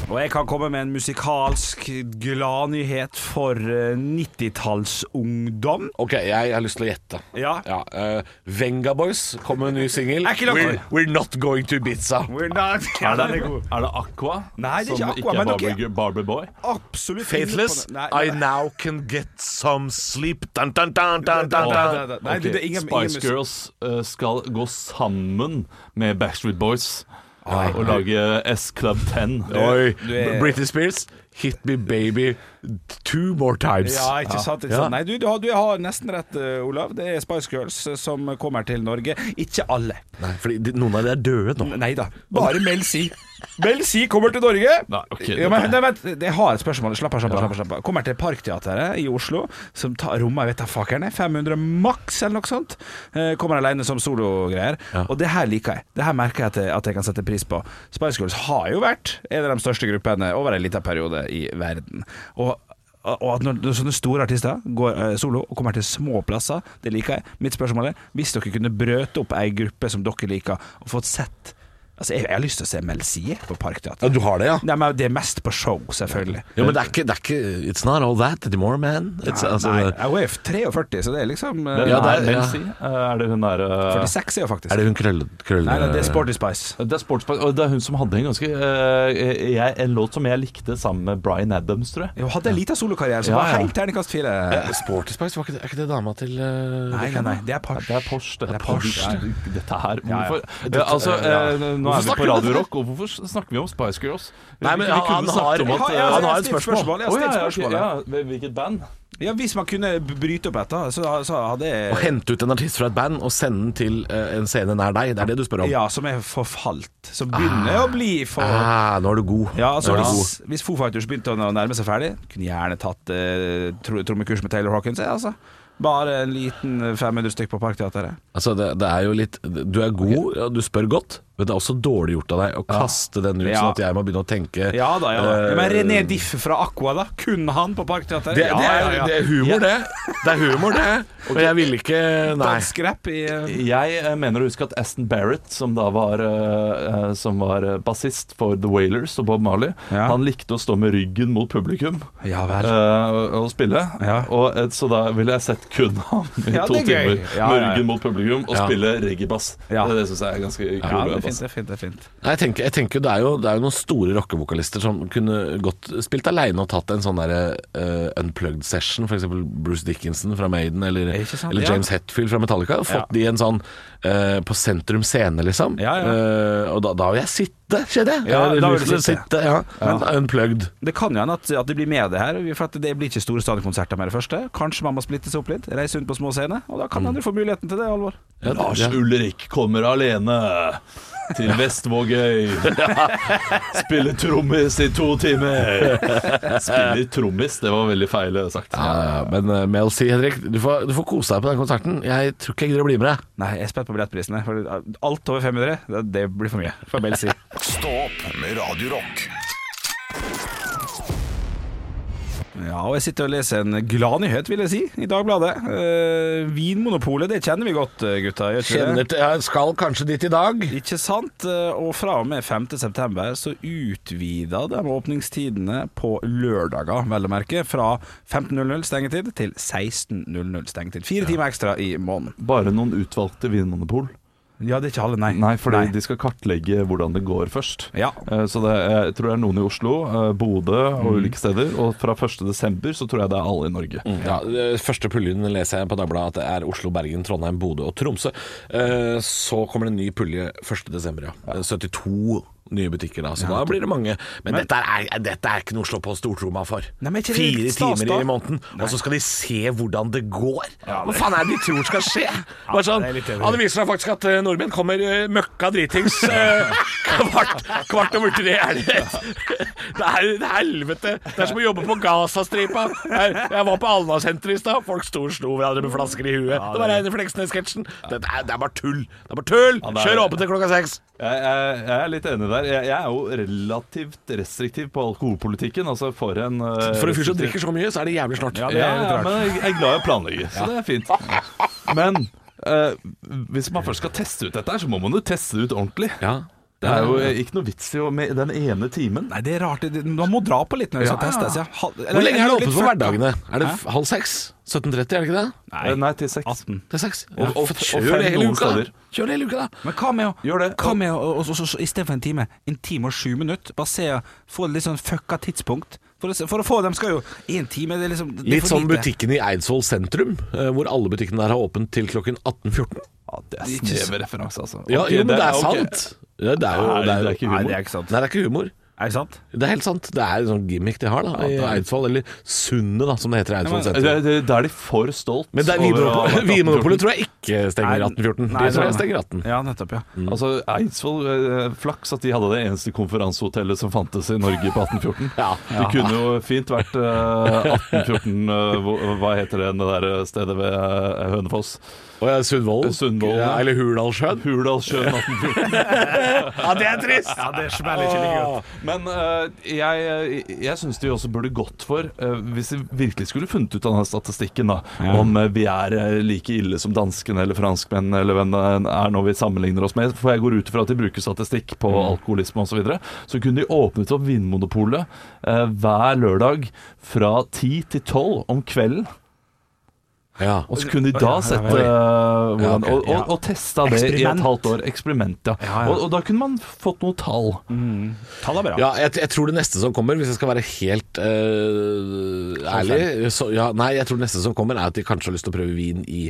[SPEAKER 4] Og jeg kan komme med en musikalsk gladnyhet for eh, 90-tallsungdom.
[SPEAKER 5] Ok, jeg har lyst til å gjette.
[SPEAKER 4] Ja.
[SPEAKER 5] eh, Venga Boys kom med en ny singel.
[SPEAKER 4] Er ikke det-
[SPEAKER 5] We're, we're Not Going To Ibiza.
[SPEAKER 4] We're not ja, den er god.
[SPEAKER 3] Er det Aqua?
[SPEAKER 4] Nei, det er
[SPEAKER 3] som
[SPEAKER 4] ikke Aqua,
[SPEAKER 3] ikke
[SPEAKER 4] men
[SPEAKER 3] er Barbie,
[SPEAKER 4] dere-
[SPEAKER 3] Barbie Boy?
[SPEAKER 4] Absolutt
[SPEAKER 5] Faithless.
[SPEAKER 4] Nei,
[SPEAKER 5] I
[SPEAKER 4] nei,
[SPEAKER 5] now can get some sleep. Dun, dun, dun,
[SPEAKER 4] nei,
[SPEAKER 5] dun, dun, dun.
[SPEAKER 4] nei, nei, nei,
[SPEAKER 3] Ok,
[SPEAKER 4] det er ingen- ingen
[SPEAKER 3] Spice
[SPEAKER 4] musikk.
[SPEAKER 3] Girls eh, skal gå sammen med Backstreet Boys eh, og lage S Club 10.
[SPEAKER 5] Oi.
[SPEAKER 4] du er-
[SPEAKER 5] Britney Spears, Hit Me Baby two more times.
[SPEAKER 4] Ja, ikke sant? Ikke
[SPEAKER 5] Ja.
[SPEAKER 4] sant? Nei, du, du, har, du har nesten rett, eh, Olav. Det er Spice Girls eh, som kommer til Norge. Ikke alle.
[SPEAKER 5] Nei, fordi de, noen av de er døde nå.
[SPEAKER 4] Nei da. Bare Mel C. Mel C kommer til Norge.
[SPEAKER 3] Nei, ok,
[SPEAKER 4] ja, men, nei, vent, jeg har et spørsmål. Slapp av, slapp av. slapp av, slapp av. Kommer til Parkteatret i Oslo, som tar rommet jeg vet da fakerne. 500 maks, eller noe sånt. Eh, Kommer alene som sologreier. Og det her liker jeg. Det her merker jeg at jeg, at jeg kan sette pris på. Spice Girls har jo vært en av de største gruppene over en liten periode i verden. Og og at når, når sånne store artister går eh, solo og kommer til små plasser, det liker jeg. Mitt spørsmål er, hvis dere kunne brøte opp ei gruppe som dere liker, og fått sett Altså, jeg, jeg har lyst til å se Mel C på Parkteatret.
[SPEAKER 5] Ja, du har det, ja?
[SPEAKER 4] Nei, men det er mest på show, selvfølgelig.
[SPEAKER 5] Jo, men det er, ikke, det er ikke It's not all that anymore, man. It's, altså,
[SPEAKER 4] Nei, hun er 43, så det er liksom eh,
[SPEAKER 3] Det er,
[SPEAKER 5] Ja, det er-
[SPEAKER 3] Mel
[SPEAKER 5] ja.
[SPEAKER 3] C. Eh, er det hun der eh,
[SPEAKER 4] 46 er hun faktisk.
[SPEAKER 5] Er det hun krøll... krøll
[SPEAKER 4] Nei, nei, det er Sporty Spice.
[SPEAKER 3] det er sportspa- og det er hun som hadde en ganske eh, jeg, En låt som jeg likte sammen med Bryan Adams, tror jeg.
[SPEAKER 4] Hun hadde en liten solokarriere som
[SPEAKER 3] Ja,
[SPEAKER 4] var
[SPEAKER 3] ja.
[SPEAKER 4] helt terningkast fire.
[SPEAKER 5] Sporty Spice, var ikke det, er ikke det dama til eh,
[SPEAKER 4] Nei, nei, nei, det er Park.
[SPEAKER 3] Det er Porsche. Dette,
[SPEAKER 4] Det er Porsche.
[SPEAKER 3] Nei, Dette her
[SPEAKER 4] Ja, ja.
[SPEAKER 3] Hvorfor? Ja, altså, eh, nå er
[SPEAKER 5] Hvorfor
[SPEAKER 3] vi
[SPEAKER 5] snakker
[SPEAKER 3] på
[SPEAKER 5] vi om
[SPEAKER 3] Radio
[SPEAKER 5] dette?
[SPEAKER 3] Rock, og hvorfor snakker vi om Spice Girls?
[SPEAKER 5] Nei,
[SPEAKER 3] vi,
[SPEAKER 5] men
[SPEAKER 3] vi
[SPEAKER 5] han- han
[SPEAKER 3] kunne snakket
[SPEAKER 5] har-
[SPEAKER 3] om at
[SPEAKER 5] han- han
[SPEAKER 3] eh,
[SPEAKER 5] har
[SPEAKER 4] jeg
[SPEAKER 5] et
[SPEAKER 4] stilt
[SPEAKER 5] spørsmål.
[SPEAKER 4] Jeg har
[SPEAKER 3] Å, ja,
[SPEAKER 4] stilt
[SPEAKER 3] ja, ok,
[SPEAKER 4] spørsmålet.
[SPEAKER 3] ja, hvil- Hvilket band?
[SPEAKER 4] Ja, hvis man kunne bryte opp dette, så, så hadde jeg
[SPEAKER 5] Å hente ut en artist fra et band og sende den til eh, en scene nær deg. Det er det du spør om.
[SPEAKER 4] Ja, som er forfalt. Som begynner å bli for
[SPEAKER 5] Ah, nå er du god.
[SPEAKER 4] Ja, altså
[SPEAKER 5] nå er du god.
[SPEAKER 4] hvis, hvis Foo Fighters begynte å nærme seg ferdig, kunne gjerne tatt eh, tro- trommekurs med Taylor Hawkins. jeg, Altså. Bare en liten 500 stykk på Parkteatret.
[SPEAKER 5] Altså, det, det er jo litt Du er god, og du spør godt, men det er også dårlig gjort av deg å kaste den ut,
[SPEAKER 4] Ja.
[SPEAKER 5] sånn at jeg må begynne å tenke
[SPEAKER 4] Ja da, ja da.
[SPEAKER 5] eh,
[SPEAKER 4] Men René Diff fra Aqua, da? Kun han på Parkteatret?
[SPEAKER 5] det, det, er, det er humor,
[SPEAKER 3] Ja.
[SPEAKER 5] det. Det er humor, det. Og jeg ville ikke Nei.
[SPEAKER 4] Dansk rap i eh,
[SPEAKER 3] Jeg eh, mener å huske at Aston Barrett, som da var, eh, eh, som var eh, bassist for The Wailers og Bob Marley,
[SPEAKER 4] Ja.
[SPEAKER 3] han likte å stå med ryggen mot publikum
[SPEAKER 4] Ja vel.
[SPEAKER 3] eh, og, og spille.
[SPEAKER 4] Ja.
[SPEAKER 3] Og, eh, så da ville jeg sett kun han i
[SPEAKER 4] Ja,
[SPEAKER 3] to
[SPEAKER 4] det er gøy.
[SPEAKER 3] timer
[SPEAKER 4] Ja,
[SPEAKER 3] med
[SPEAKER 4] ja, ja.
[SPEAKER 3] ryggen mot publikum og
[SPEAKER 5] Ja.
[SPEAKER 3] spille reggae-bass.
[SPEAKER 4] Ja.
[SPEAKER 3] Det, det syns jeg er ganske kul.
[SPEAKER 4] Ja, det
[SPEAKER 3] jobb,
[SPEAKER 4] er fint,
[SPEAKER 3] altså.
[SPEAKER 4] det er fint. Det er fint.
[SPEAKER 5] Nei, Jeg tenker, jeg tenker det, er jo, det er jo noen store rockevokalister som kunne godt spilt aleine og tatt en sånn derre eh, unplugged session, f.eks. Bruce Dickinson fra Maiden eller,
[SPEAKER 4] Ikke sant?
[SPEAKER 5] eller
[SPEAKER 4] Ja.
[SPEAKER 5] James Hetfield fra Metallica. Og fått
[SPEAKER 4] Ja.
[SPEAKER 5] de en sånn eh, på sentrum scene, liksom.
[SPEAKER 4] Ja, ja.
[SPEAKER 5] Eh, og da, da vil jeg sitte, kjenner jeg.
[SPEAKER 4] Ja,
[SPEAKER 5] jeg
[SPEAKER 4] da
[SPEAKER 5] har
[SPEAKER 4] vil du
[SPEAKER 5] lyst til å
[SPEAKER 4] sitte.
[SPEAKER 5] sitte. Ja. Men unplugged.
[SPEAKER 4] Det kan jo hende at, at det blir med det her. For at det blir ikke store stadionkonserter med det første. Kanskje man må splitte seg opp litt, reise rundt på små scener. Og da
[SPEAKER 5] Mm.
[SPEAKER 4] kan andre få muligheten til det, Alvor.
[SPEAKER 5] Ja,
[SPEAKER 3] Lars
[SPEAKER 5] ja.
[SPEAKER 3] Ulrik kommer alene til Vestvågøy. Spiller trommis i to timer. Spiller trommis, det var veldig feil sagt.
[SPEAKER 5] Ja, ja, men eh, Mel C, Henrik, du får, du får kose deg på den konserten. Jeg tror ikke jeg gidder å bli med deg.
[SPEAKER 4] Nei, jeg er spent på billettprisene. For alt over 500, det, det blir for mye. For Bell si.
[SPEAKER 1] Stå opp med Radio Rock.
[SPEAKER 4] Ja, og jeg sitter og leser en glad nyhet, vil jeg si, i Dagbladet. Eh, vinmonopolet, det kjenner vi godt, eh, gutta. Gjør ikke vi
[SPEAKER 5] Kjenner
[SPEAKER 4] det?
[SPEAKER 5] til, jeg skal kanskje dit i dag.
[SPEAKER 4] Ikke sant? Eh, Og fra og med 5. september så utvida de åpningstidene på lørdager, vel å merke, fra 15.00 stengetid til 16.00 stengetid. Fire timer ekstra i måneden.
[SPEAKER 3] Bare noen utvalgte vinmonopol.
[SPEAKER 4] Ja, det er ikke alle, nei.
[SPEAKER 3] Nei, for de skal kartlegge hvordan det går først.
[SPEAKER 4] Ja.
[SPEAKER 3] Eh, Så det, jeg tror det er noen i Oslo, eh, Bodø og
[SPEAKER 5] Mm.
[SPEAKER 3] ulike steder. Og fra 1.12. så tror jeg det er alle i Norge.
[SPEAKER 5] Ja, det Første puljen leser jeg på Dagbladet at det er Oslo, Bergen, Trondheim, Bodø og Tromsø. Eh, Så kommer det en ny pulje 1.12., ja. Eh, 72 nye butikker da, så da blir det mange. Men, dette, er, dette er ikke noe å slå på stortromma for.
[SPEAKER 4] Nei, men er ikke det
[SPEAKER 5] Fire
[SPEAKER 4] litt stas,
[SPEAKER 5] timer
[SPEAKER 4] da?
[SPEAKER 5] i måneden, og så skal de se hvordan det går. Hva faen er det de tror skal skje? Bare sånn,
[SPEAKER 4] det er litt
[SPEAKER 5] ja,
[SPEAKER 4] enig.
[SPEAKER 5] det viser seg faktisk at eh, nordmenn kommer eh, møkka dritings eh, kvart, kvart over tre. Er det. Det, er, det er helvete. Det er som å jobbe på Gazastripa. Jeg, jeg var på Alna-senteret i stad. Folk sto og slo hverandre med flasker i huet. Det var reine Fleksnes-sketsjen. Det, det, er- det er bare tull. Det er bare tull!
[SPEAKER 3] det er-
[SPEAKER 5] Kjør åpent til klokka seks.
[SPEAKER 3] Jeg, jeg, jeg er litt enig der. Jeg, jeg er jo relativt restriktiv på alkoholpolitikken. Altså for en eh,
[SPEAKER 5] For en fyr som
[SPEAKER 3] restriktiv-
[SPEAKER 5] drikker så mye, så er det jævlig snart.
[SPEAKER 3] Ja, ja, men jeg, jeg er glad i å planlegge, så det er fint. Men eh, hvis man først skal teste ut dette, her, så må man jo teste det ut ordentlig.
[SPEAKER 5] Ja.
[SPEAKER 3] Det er jo ikke noe vits i å med den ene timen.
[SPEAKER 4] Nei, det er rart. Det- Man må dra på litt når det
[SPEAKER 3] Ja,
[SPEAKER 4] skal
[SPEAKER 3] ja.
[SPEAKER 4] testes. Ja. Hal- eller-
[SPEAKER 5] Hvor lenge er det åpent
[SPEAKER 4] litt
[SPEAKER 5] for
[SPEAKER 4] før-
[SPEAKER 5] hverdagene? Er det
[SPEAKER 4] Hæ?
[SPEAKER 5] f- halv seks? 17.30, er det ikke det?
[SPEAKER 3] Eh, Nei, til seks.
[SPEAKER 4] 18.
[SPEAKER 5] Til seks?
[SPEAKER 3] Ja.
[SPEAKER 5] Og, og,
[SPEAKER 3] Og
[SPEAKER 5] kjør
[SPEAKER 3] fem
[SPEAKER 5] det hele
[SPEAKER 3] noen
[SPEAKER 5] uka,
[SPEAKER 3] steder.
[SPEAKER 5] da! Kjør det hele uka, da!
[SPEAKER 4] Men hva med å,
[SPEAKER 3] Gjør det.
[SPEAKER 4] Hva med å og, og, og, og, i stedet for en time, en time og sju minutter? Bare se, få et litt sånn fucka tidspunkt. For å, se- for å få dem skal jo én time det er liksom, det er
[SPEAKER 5] Litt sånn
[SPEAKER 4] for
[SPEAKER 5] som
[SPEAKER 4] lite.
[SPEAKER 5] butikken i Eidsvoll sentrum, eh, hvor alle butikkene der har åpent til klokken 18.14.
[SPEAKER 3] Ja, det er
[SPEAKER 4] Ikke så-
[SPEAKER 3] snever referanse, altså.
[SPEAKER 5] Ja,
[SPEAKER 3] Ok,
[SPEAKER 5] jo, men det er,
[SPEAKER 3] ok.
[SPEAKER 5] sant. Ja, det er jo
[SPEAKER 3] Nei,
[SPEAKER 5] det er,
[SPEAKER 3] det
[SPEAKER 5] jo-
[SPEAKER 3] er ikke
[SPEAKER 4] Nei,
[SPEAKER 3] humor.
[SPEAKER 4] det er ikke sant.
[SPEAKER 5] Nei, det er ikke humor.
[SPEAKER 4] Er det sant?
[SPEAKER 5] Det er helt sant. Det er en sånn gimmick de har da i Eidsvoll, eller Sundet, da, som det heter i Eidsvoll
[SPEAKER 3] Det,
[SPEAKER 5] sentrum.
[SPEAKER 3] det, da er de for stolt.
[SPEAKER 5] Men det er
[SPEAKER 3] over å ha vært
[SPEAKER 5] Vinmonopolet-
[SPEAKER 3] 1814.
[SPEAKER 5] Vinmonopolet tror jeg ikke stenger
[SPEAKER 4] Nei,
[SPEAKER 5] 18.14.
[SPEAKER 4] nei,
[SPEAKER 5] De tror
[SPEAKER 4] nei,
[SPEAKER 5] jeg
[SPEAKER 4] nei.
[SPEAKER 5] stenger 18.
[SPEAKER 4] Ja, nettopp, ja.
[SPEAKER 3] Altså, Eidsvoll eh, Flaks at de hadde det eneste konferansehotellet som fantes i Norge på 1814.
[SPEAKER 5] Ja.
[SPEAKER 3] Det kunne jo fint vært eh, 1814 eh, hvor- Hva heter det det der stedet ved eh, Hønefoss?
[SPEAKER 5] Og ja, Sundvolden.
[SPEAKER 3] Sundvolden.
[SPEAKER 5] Ja, eller Hurdalssjøen.
[SPEAKER 3] Hurdalssjøen 1814.
[SPEAKER 5] Ja, det er trist!
[SPEAKER 4] Ja, det smeller ikke like godt.
[SPEAKER 3] Men eh, jeg, jeg syns de også burde gått for, eh, hvis de virkelig skulle funnet ut av denne statistikken, da, om eh, vi er eh, like ille som danskene eller franskmennene eller hvem det er når vi sammenligner oss med, for jeg går ut ifra at de bruker statistikk på
[SPEAKER 5] Mm.
[SPEAKER 3] alkoholisme osv., så, videre, så kunne de åpnet opp Vinmonopolet eh, hver lørdag fra 10 til 12 om kvelden.
[SPEAKER 5] Ja.
[SPEAKER 3] Og så kunne de da sette
[SPEAKER 5] oi.
[SPEAKER 3] eh, hvordan,
[SPEAKER 5] Ja, ok,
[SPEAKER 3] og,
[SPEAKER 5] ja.
[SPEAKER 3] og, og testa det i
[SPEAKER 4] Eksperiment.
[SPEAKER 3] et halvt år. Eksperiment, ja.
[SPEAKER 4] Ja, ja.
[SPEAKER 3] Og, og da kunne man fått noe tall.
[SPEAKER 5] Mm.
[SPEAKER 4] Tall er bra.
[SPEAKER 5] Ja, jeg, jeg tror det neste som kommer, hvis jeg skal være helt eh, ærlig så, ja, Nei, jeg tror det neste som kommer er at de kanskje har lyst til å prøve vin i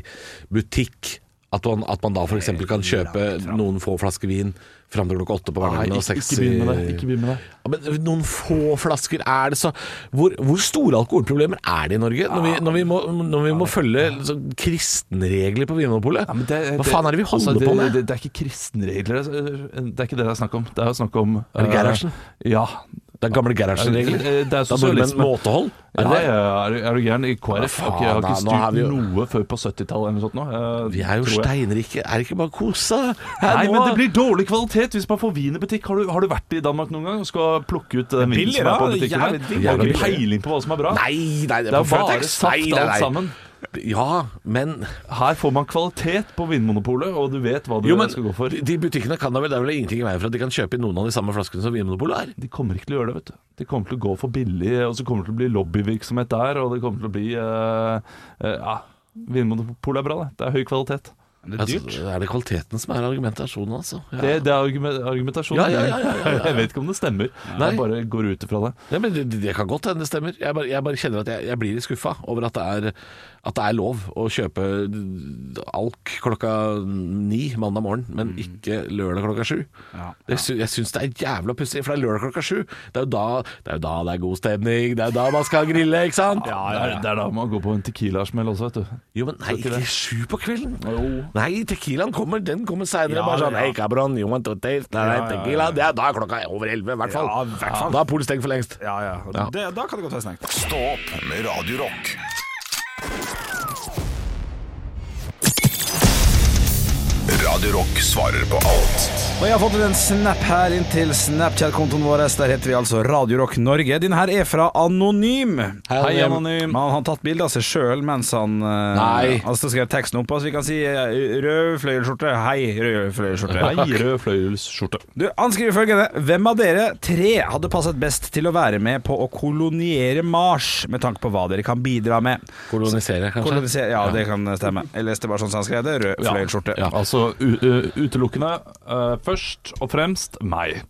[SPEAKER 5] butikk. At man, at man da f.eks. kan kjøpe noen få flasker vin fram til klokka åtte på
[SPEAKER 3] Nei,
[SPEAKER 5] hverdagen. og
[SPEAKER 3] ikke,
[SPEAKER 5] seks
[SPEAKER 3] ikke begynn med det.
[SPEAKER 5] i-
[SPEAKER 3] Ikke begynn med det.
[SPEAKER 5] Ja, men noen få flasker er det så Hvor, hvor store alkoholproblemer er det i Norge? Når vi, når vi må, når vi må følge sånn kristenregler på Vinmonopolet?
[SPEAKER 3] Ja, men det,
[SPEAKER 5] Hva faen er det vi holder
[SPEAKER 3] altså, det,
[SPEAKER 5] på med?
[SPEAKER 3] Det, det er ikke kristenregler. altså, Det er ikke det det er snakk om. Det er jo snakk om
[SPEAKER 5] Er det
[SPEAKER 3] eh,
[SPEAKER 5] Gerhardsen?
[SPEAKER 3] Ja.
[SPEAKER 5] det er gamle Gerhardsen-regler?
[SPEAKER 3] Eh, Det er
[SPEAKER 5] Da burde man
[SPEAKER 3] sosialisme.
[SPEAKER 5] måtehold? Er
[SPEAKER 3] Er,
[SPEAKER 5] det det?
[SPEAKER 3] eh, er, du- er du gæren? I KrF
[SPEAKER 5] Hva
[SPEAKER 3] har ikke- har
[SPEAKER 5] faen,
[SPEAKER 3] ikke
[SPEAKER 5] da, nå er
[SPEAKER 3] styrt
[SPEAKER 5] vi jo-
[SPEAKER 3] noe før på 70-tallet eller noe sånt. Nå. eh,
[SPEAKER 5] Vi er jo
[SPEAKER 3] tror jeg.
[SPEAKER 5] steinrike. Er det ikke bare kose?
[SPEAKER 3] Nei, men det blir dårlig kvalitet hvis man får vin i butikk. Har du, har du vært i Danmark noen gang og skal plukke ut den vinen
[SPEAKER 4] billig,
[SPEAKER 3] som er på
[SPEAKER 4] da.
[SPEAKER 3] butikken?
[SPEAKER 4] Jævlig
[SPEAKER 3] der?
[SPEAKER 4] billig.
[SPEAKER 3] Du har
[SPEAKER 5] Jævlig
[SPEAKER 3] ikke
[SPEAKER 5] billig.
[SPEAKER 3] peiling på hva som er bra.
[SPEAKER 5] Nei, nei, det
[SPEAKER 3] Det
[SPEAKER 5] er
[SPEAKER 3] er
[SPEAKER 5] på
[SPEAKER 3] bare
[SPEAKER 5] Fretex.
[SPEAKER 3] saft
[SPEAKER 5] Nei, nei, nei.
[SPEAKER 3] alt sammen.
[SPEAKER 5] Ja, men
[SPEAKER 3] Her får man kvalitet på Vinmonopolet, og du vet hva du
[SPEAKER 5] Jo, men
[SPEAKER 3] skal gå for.
[SPEAKER 5] de butikkene kan da vel Det er vel ingenting i veien for at de kan kjøpe inn noen av de samme flaskene som Vinmonopolet er?
[SPEAKER 3] De kommer ikke til å gjøre det, vet du. De kommer til å gå for billig, og så kommer det til å bli lobbyvirksomhet der, og det kommer til å bli eh, eh, Ja, Vinmonopolet er bra, det. Det er høy kvalitet.
[SPEAKER 4] Det er dyrt.
[SPEAKER 5] Altså, er det kvaliteten som er argumentasjonen, altså? Ja.
[SPEAKER 3] Det, det er argume- argumentasjonen.
[SPEAKER 5] Ja, ja, ja, ja, ja, ja.
[SPEAKER 3] Jeg vet ikke om det stemmer.
[SPEAKER 5] Nei.
[SPEAKER 3] Jeg bare går ut ifra det.
[SPEAKER 5] Ja, men det, det kan godt hende det stemmer. Jeg bare, jeg bare kjenner at jeg, jeg blir litt skuffa over at det, er, at det er lov å kjøpe alk klokka ni mandag morgen, men ikke lørdag klokka sju.
[SPEAKER 4] Mm. Ja.
[SPEAKER 5] Det sy- Jeg syns det er jævla pussig, for det er lørdag klokka sju. Det er jo da det er, jo da det er god stemning, det er jo da man skal grille, ikke sant?
[SPEAKER 3] Det, er, det er da man går på en Tequila-smell også, vet du.
[SPEAKER 5] Jo, men nei, ikke sju på kvelden.
[SPEAKER 3] Jo.
[SPEAKER 5] Nei, tequilaen kommer, den kommer seinere.
[SPEAKER 4] Ja,
[SPEAKER 5] bare sånn
[SPEAKER 4] ja.
[SPEAKER 5] Hei, cabron, you want to taste? Nei, nei, tequila. Det er da er klokka er over elleve, i hvert fall.
[SPEAKER 4] Ja, i hvert fall.
[SPEAKER 5] Da er polet stengt for lengst.
[SPEAKER 4] Ja, ja. Det, da kan det godt være snakk.
[SPEAKER 1] Stå opp med Radio Rock. Radio Rock svarer på alt.
[SPEAKER 4] Og jeg har fått en snap her inn til Snapchat-kontoen vår. Der heter vi altså Radio Rock Norge. Din her er fra Anonym.
[SPEAKER 5] Hei,
[SPEAKER 3] Anonym.
[SPEAKER 4] Men han har tatt bilde av seg sjøl mens han eh,
[SPEAKER 5] Nei.
[SPEAKER 4] Altså skrev teksten opp. Altså vi kan si eh, rød fløyelsskjorte. Hei, rød fløyelsskjorte.
[SPEAKER 3] Hei, rød fløyelsskjorte.
[SPEAKER 4] Du, han skriver følgende Hvem av dere tre hadde passet best til å være med på å koloniere Mars, med tanke på hva dere kan bidra med?
[SPEAKER 5] Kolonisere, kanskje?
[SPEAKER 4] Kolonisere, ja, det kan stemme. Jeg leste bare sånn som han skrev det. Rød fløyelsskjorte.
[SPEAKER 5] Ja.
[SPEAKER 3] Altså u- u- utelukkende eh, først og fremst meg.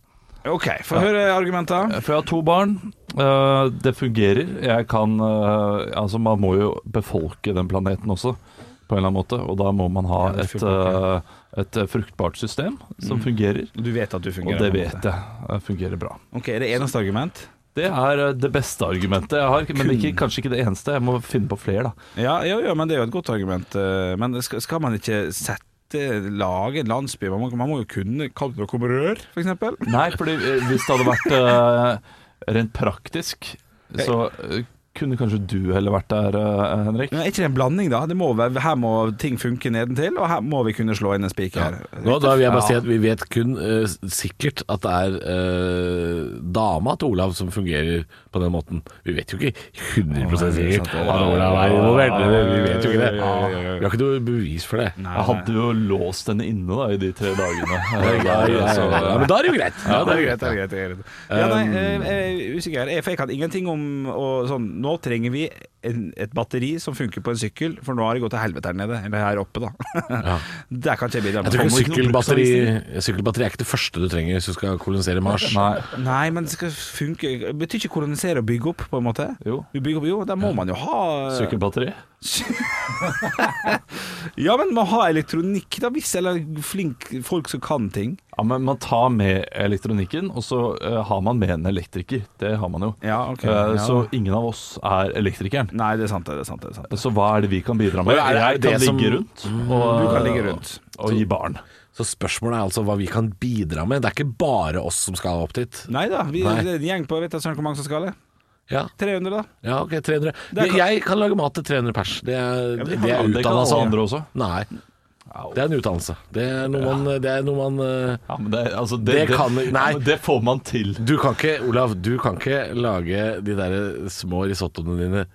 [SPEAKER 4] Ok, få høre argumenter.
[SPEAKER 3] For jeg har to barn. Eh, det fungerer. Jeg kan eh, Altså, man må jo befolke den planeten også, på en eller annen måte. Og da må man ha
[SPEAKER 4] Ja, det
[SPEAKER 3] et,
[SPEAKER 4] fungerer.
[SPEAKER 3] eh, et eh, fruktbart system som fungerer.
[SPEAKER 4] Du vet at du
[SPEAKER 3] Og
[SPEAKER 4] fungerer.
[SPEAKER 3] det
[SPEAKER 4] på en måte.
[SPEAKER 3] vet jeg eh, fungerer bra.
[SPEAKER 4] Ok, er det eneste argument?
[SPEAKER 3] Det er eh, det beste argumentet jeg har, men ikke, kanskje ikke det eneste. Jeg må finne på flere, da.
[SPEAKER 4] Ja, ja, ja, men det er jo et godt argument. eh, Men skal, skal man ikke sette lage en landsby? Man må, man må jo kunne kalle det noe rør, for eksempel.
[SPEAKER 3] Nei, fordi eh, hvis det hadde vært eh, rent praktisk, så eh, Kunne kanskje du heller vært der, eh, Henrik?
[SPEAKER 4] Men er ikke det en blanding, da? Det må, være- her må ting funke nedentil, og her må vi kunne slå inn en spiker.
[SPEAKER 5] Nå, da vil jeg bare si at Vi vet kun eh, sikkert at det er eh, dama til Olav som fungerer på den måten. Vi vet jo ikke 100 sikkert at Olav er involvert. Vi vet jo ikke det. Vi har ikke noe bevis for det.
[SPEAKER 3] Jeg hadde jo låst henne inne da, i de tre dagene. Eh,
[SPEAKER 5] Ja,
[SPEAKER 3] der,
[SPEAKER 5] ja,
[SPEAKER 3] så-
[SPEAKER 5] altså, ja, ja. Men da er det jo greit. Ja, da er det
[SPEAKER 4] greit, det er greit, det er greit. Ja, nei,
[SPEAKER 3] Um,
[SPEAKER 4] eh, jeg er usikker. Jeg- For jeg kan ingenting om og sånn, Nå trenger vi en, et batteri som funker på en sykkel, for nå har det gått til helvete her nede. Eller her oppe, da. Der kan ikke jeg bidra
[SPEAKER 5] Jeg tror
[SPEAKER 3] Kommer ikke
[SPEAKER 4] med.
[SPEAKER 5] ikke
[SPEAKER 3] noen
[SPEAKER 5] sykkelbatteri, sykkelbatteri er ikke det første du trenger hvis du skal kolonisere Mars.
[SPEAKER 3] Nei.
[SPEAKER 4] Nei, men det skal funke Betyr ikke kolonisere og bygge opp, på en måte?
[SPEAKER 3] Jo.
[SPEAKER 4] Du bygger opp, jo, da må man jo ha
[SPEAKER 3] Sykkelbatteri?
[SPEAKER 4] Ja, men man har elektronikk, da, hvis eller flink folk som kan ting.
[SPEAKER 3] Ja, men Man tar med elektronikken, og så eh, har man med en elektriker. Det har man jo.
[SPEAKER 4] Ja, ok,
[SPEAKER 3] Eh,
[SPEAKER 4] ja.
[SPEAKER 3] Så ingen av oss er elektrikeren.
[SPEAKER 4] Nei, det er sant, det er sant. Det er sant.
[SPEAKER 3] Så hva er det vi kan bidra med?
[SPEAKER 5] Og er det- er
[SPEAKER 3] Jeg
[SPEAKER 5] det
[SPEAKER 3] kan
[SPEAKER 5] som- Mm,
[SPEAKER 3] ligge rundt og, eh,
[SPEAKER 4] Du kan ligge rundt.
[SPEAKER 3] og gi barn.
[SPEAKER 5] Så spørsmålet er altså hva vi kan bidra med. Det er ikke bare oss som skal opp dit.
[SPEAKER 4] Nei da, vi
[SPEAKER 5] Nei.
[SPEAKER 4] det er en gjeng på vet du søren hvor mange som skal det?
[SPEAKER 5] Ja,
[SPEAKER 4] 300, da.
[SPEAKER 5] ja ok, 300.
[SPEAKER 4] Det
[SPEAKER 5] Jeg,
[SPEAKER 4] kan-
[SPEAKER 5] jeg kan lage mat til 300 pers. Det
[SPEAKER 4] men
[SPEAKER 5] er,
[SPEAKER 4] det
[SPEAKER 5] det
[SPEAKER 4] kan
[SPEAKER 5] er sånn.
[SPEAKER 3] alle- det kan
[SPEAKER 5] utdannelse.
[SPEAKER 3] alle andre også.
[SPEAKER 5] Nei. Det er en utdannelse. Det er noe man, det er noe man eh,
[SPEAKER 3] Ja, men det, altså, det,
[SPEAKER 5] Det kan- nei.
[SPEAKER 3] Ja, men det får man til.
[SPEAKER 5] Du kan ikke, Olav, du kan ikke lage de der små risottoene dine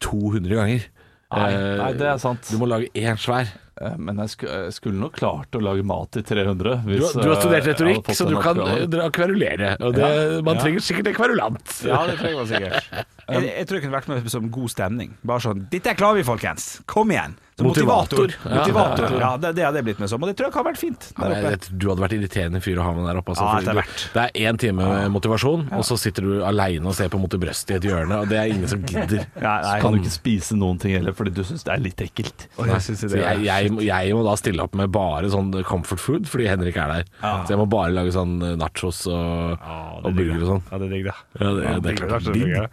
[SPEAKER 5] 200 ganger.
[SPEAKER 3] Nei,
[SPEAKER 5] Eh,
[SPEAKER 3] nei, det er sant.
[SPEAKER 5] Du må lage én svær.
[SPEAKER 3] Eh, Men jeg, sku, jeg skulle nok klart å lage mat til 300.
[SPEAKER 5] Du,
[SPEAKER 3] Hvis,
[SPEAKER 5] har- du har studert
[SPEAKER 3] eh, jeg hadde
[SPEAKER 5] retorikk,
[SPEAKER 3] fått
[SPEAKER 5] så
[SPEAKER 3] den
[SPEAKER 5] du kan eh,
[SPEAKER 3] oppgaven.
[SPEAKER 5] dra og kverulere. Og det, man trenger sikkert en kverulant.
[SPEAKER 4] Ja, det trenger man sikkert. Jeg, jeg tror jeg kunne vært med som god stemning. Bare sånn 'Dette klarer vi, folkens! Kom igjen!' Som
[SPEAKER 5] Motivator.
[SPEAKER 4] motivator. motivator. Ja, det, det hadde jeg blitt med som, og det tror jeg hadde vært fint
[SPEAKER 5] Ja,
[SPEAKER 4] der
[SPEAKER 5] men
[SPEAKER 4] oppe.
[SPEAKER 5] jeg tror du hadde vært irriterende fyr å ha med der oppe. Altså,
[SPEAKER 4] Ja,
[SPEAKER 5] fordi
[SPEAKER 4] etter
[SPEAKER 5] du-
[SPEAKER 4] hvert.
[SPEAKER 5] det er én time med motivasjon, og så sitter du aleine og ser på Monty Brøst i et hjørne, og det er ingen som gidder.
[SPEAKER 3] Så kan du ikke spise noen ting heller, fordi du syns det er litt ekkelt.
[SPEAKER 5] Så jeg, jeg, må- jeg må da stille opp med bare sånn comfort food, fordi Henrik er der. Så jeg må bare lage sånn eh, nachos og, og burger og sånn.
[SPEAKER 4] Ja, det er digg, det.
[SPEAKER 5] Ja, det, det er klart.
[SPEAKER 4] det fungerer.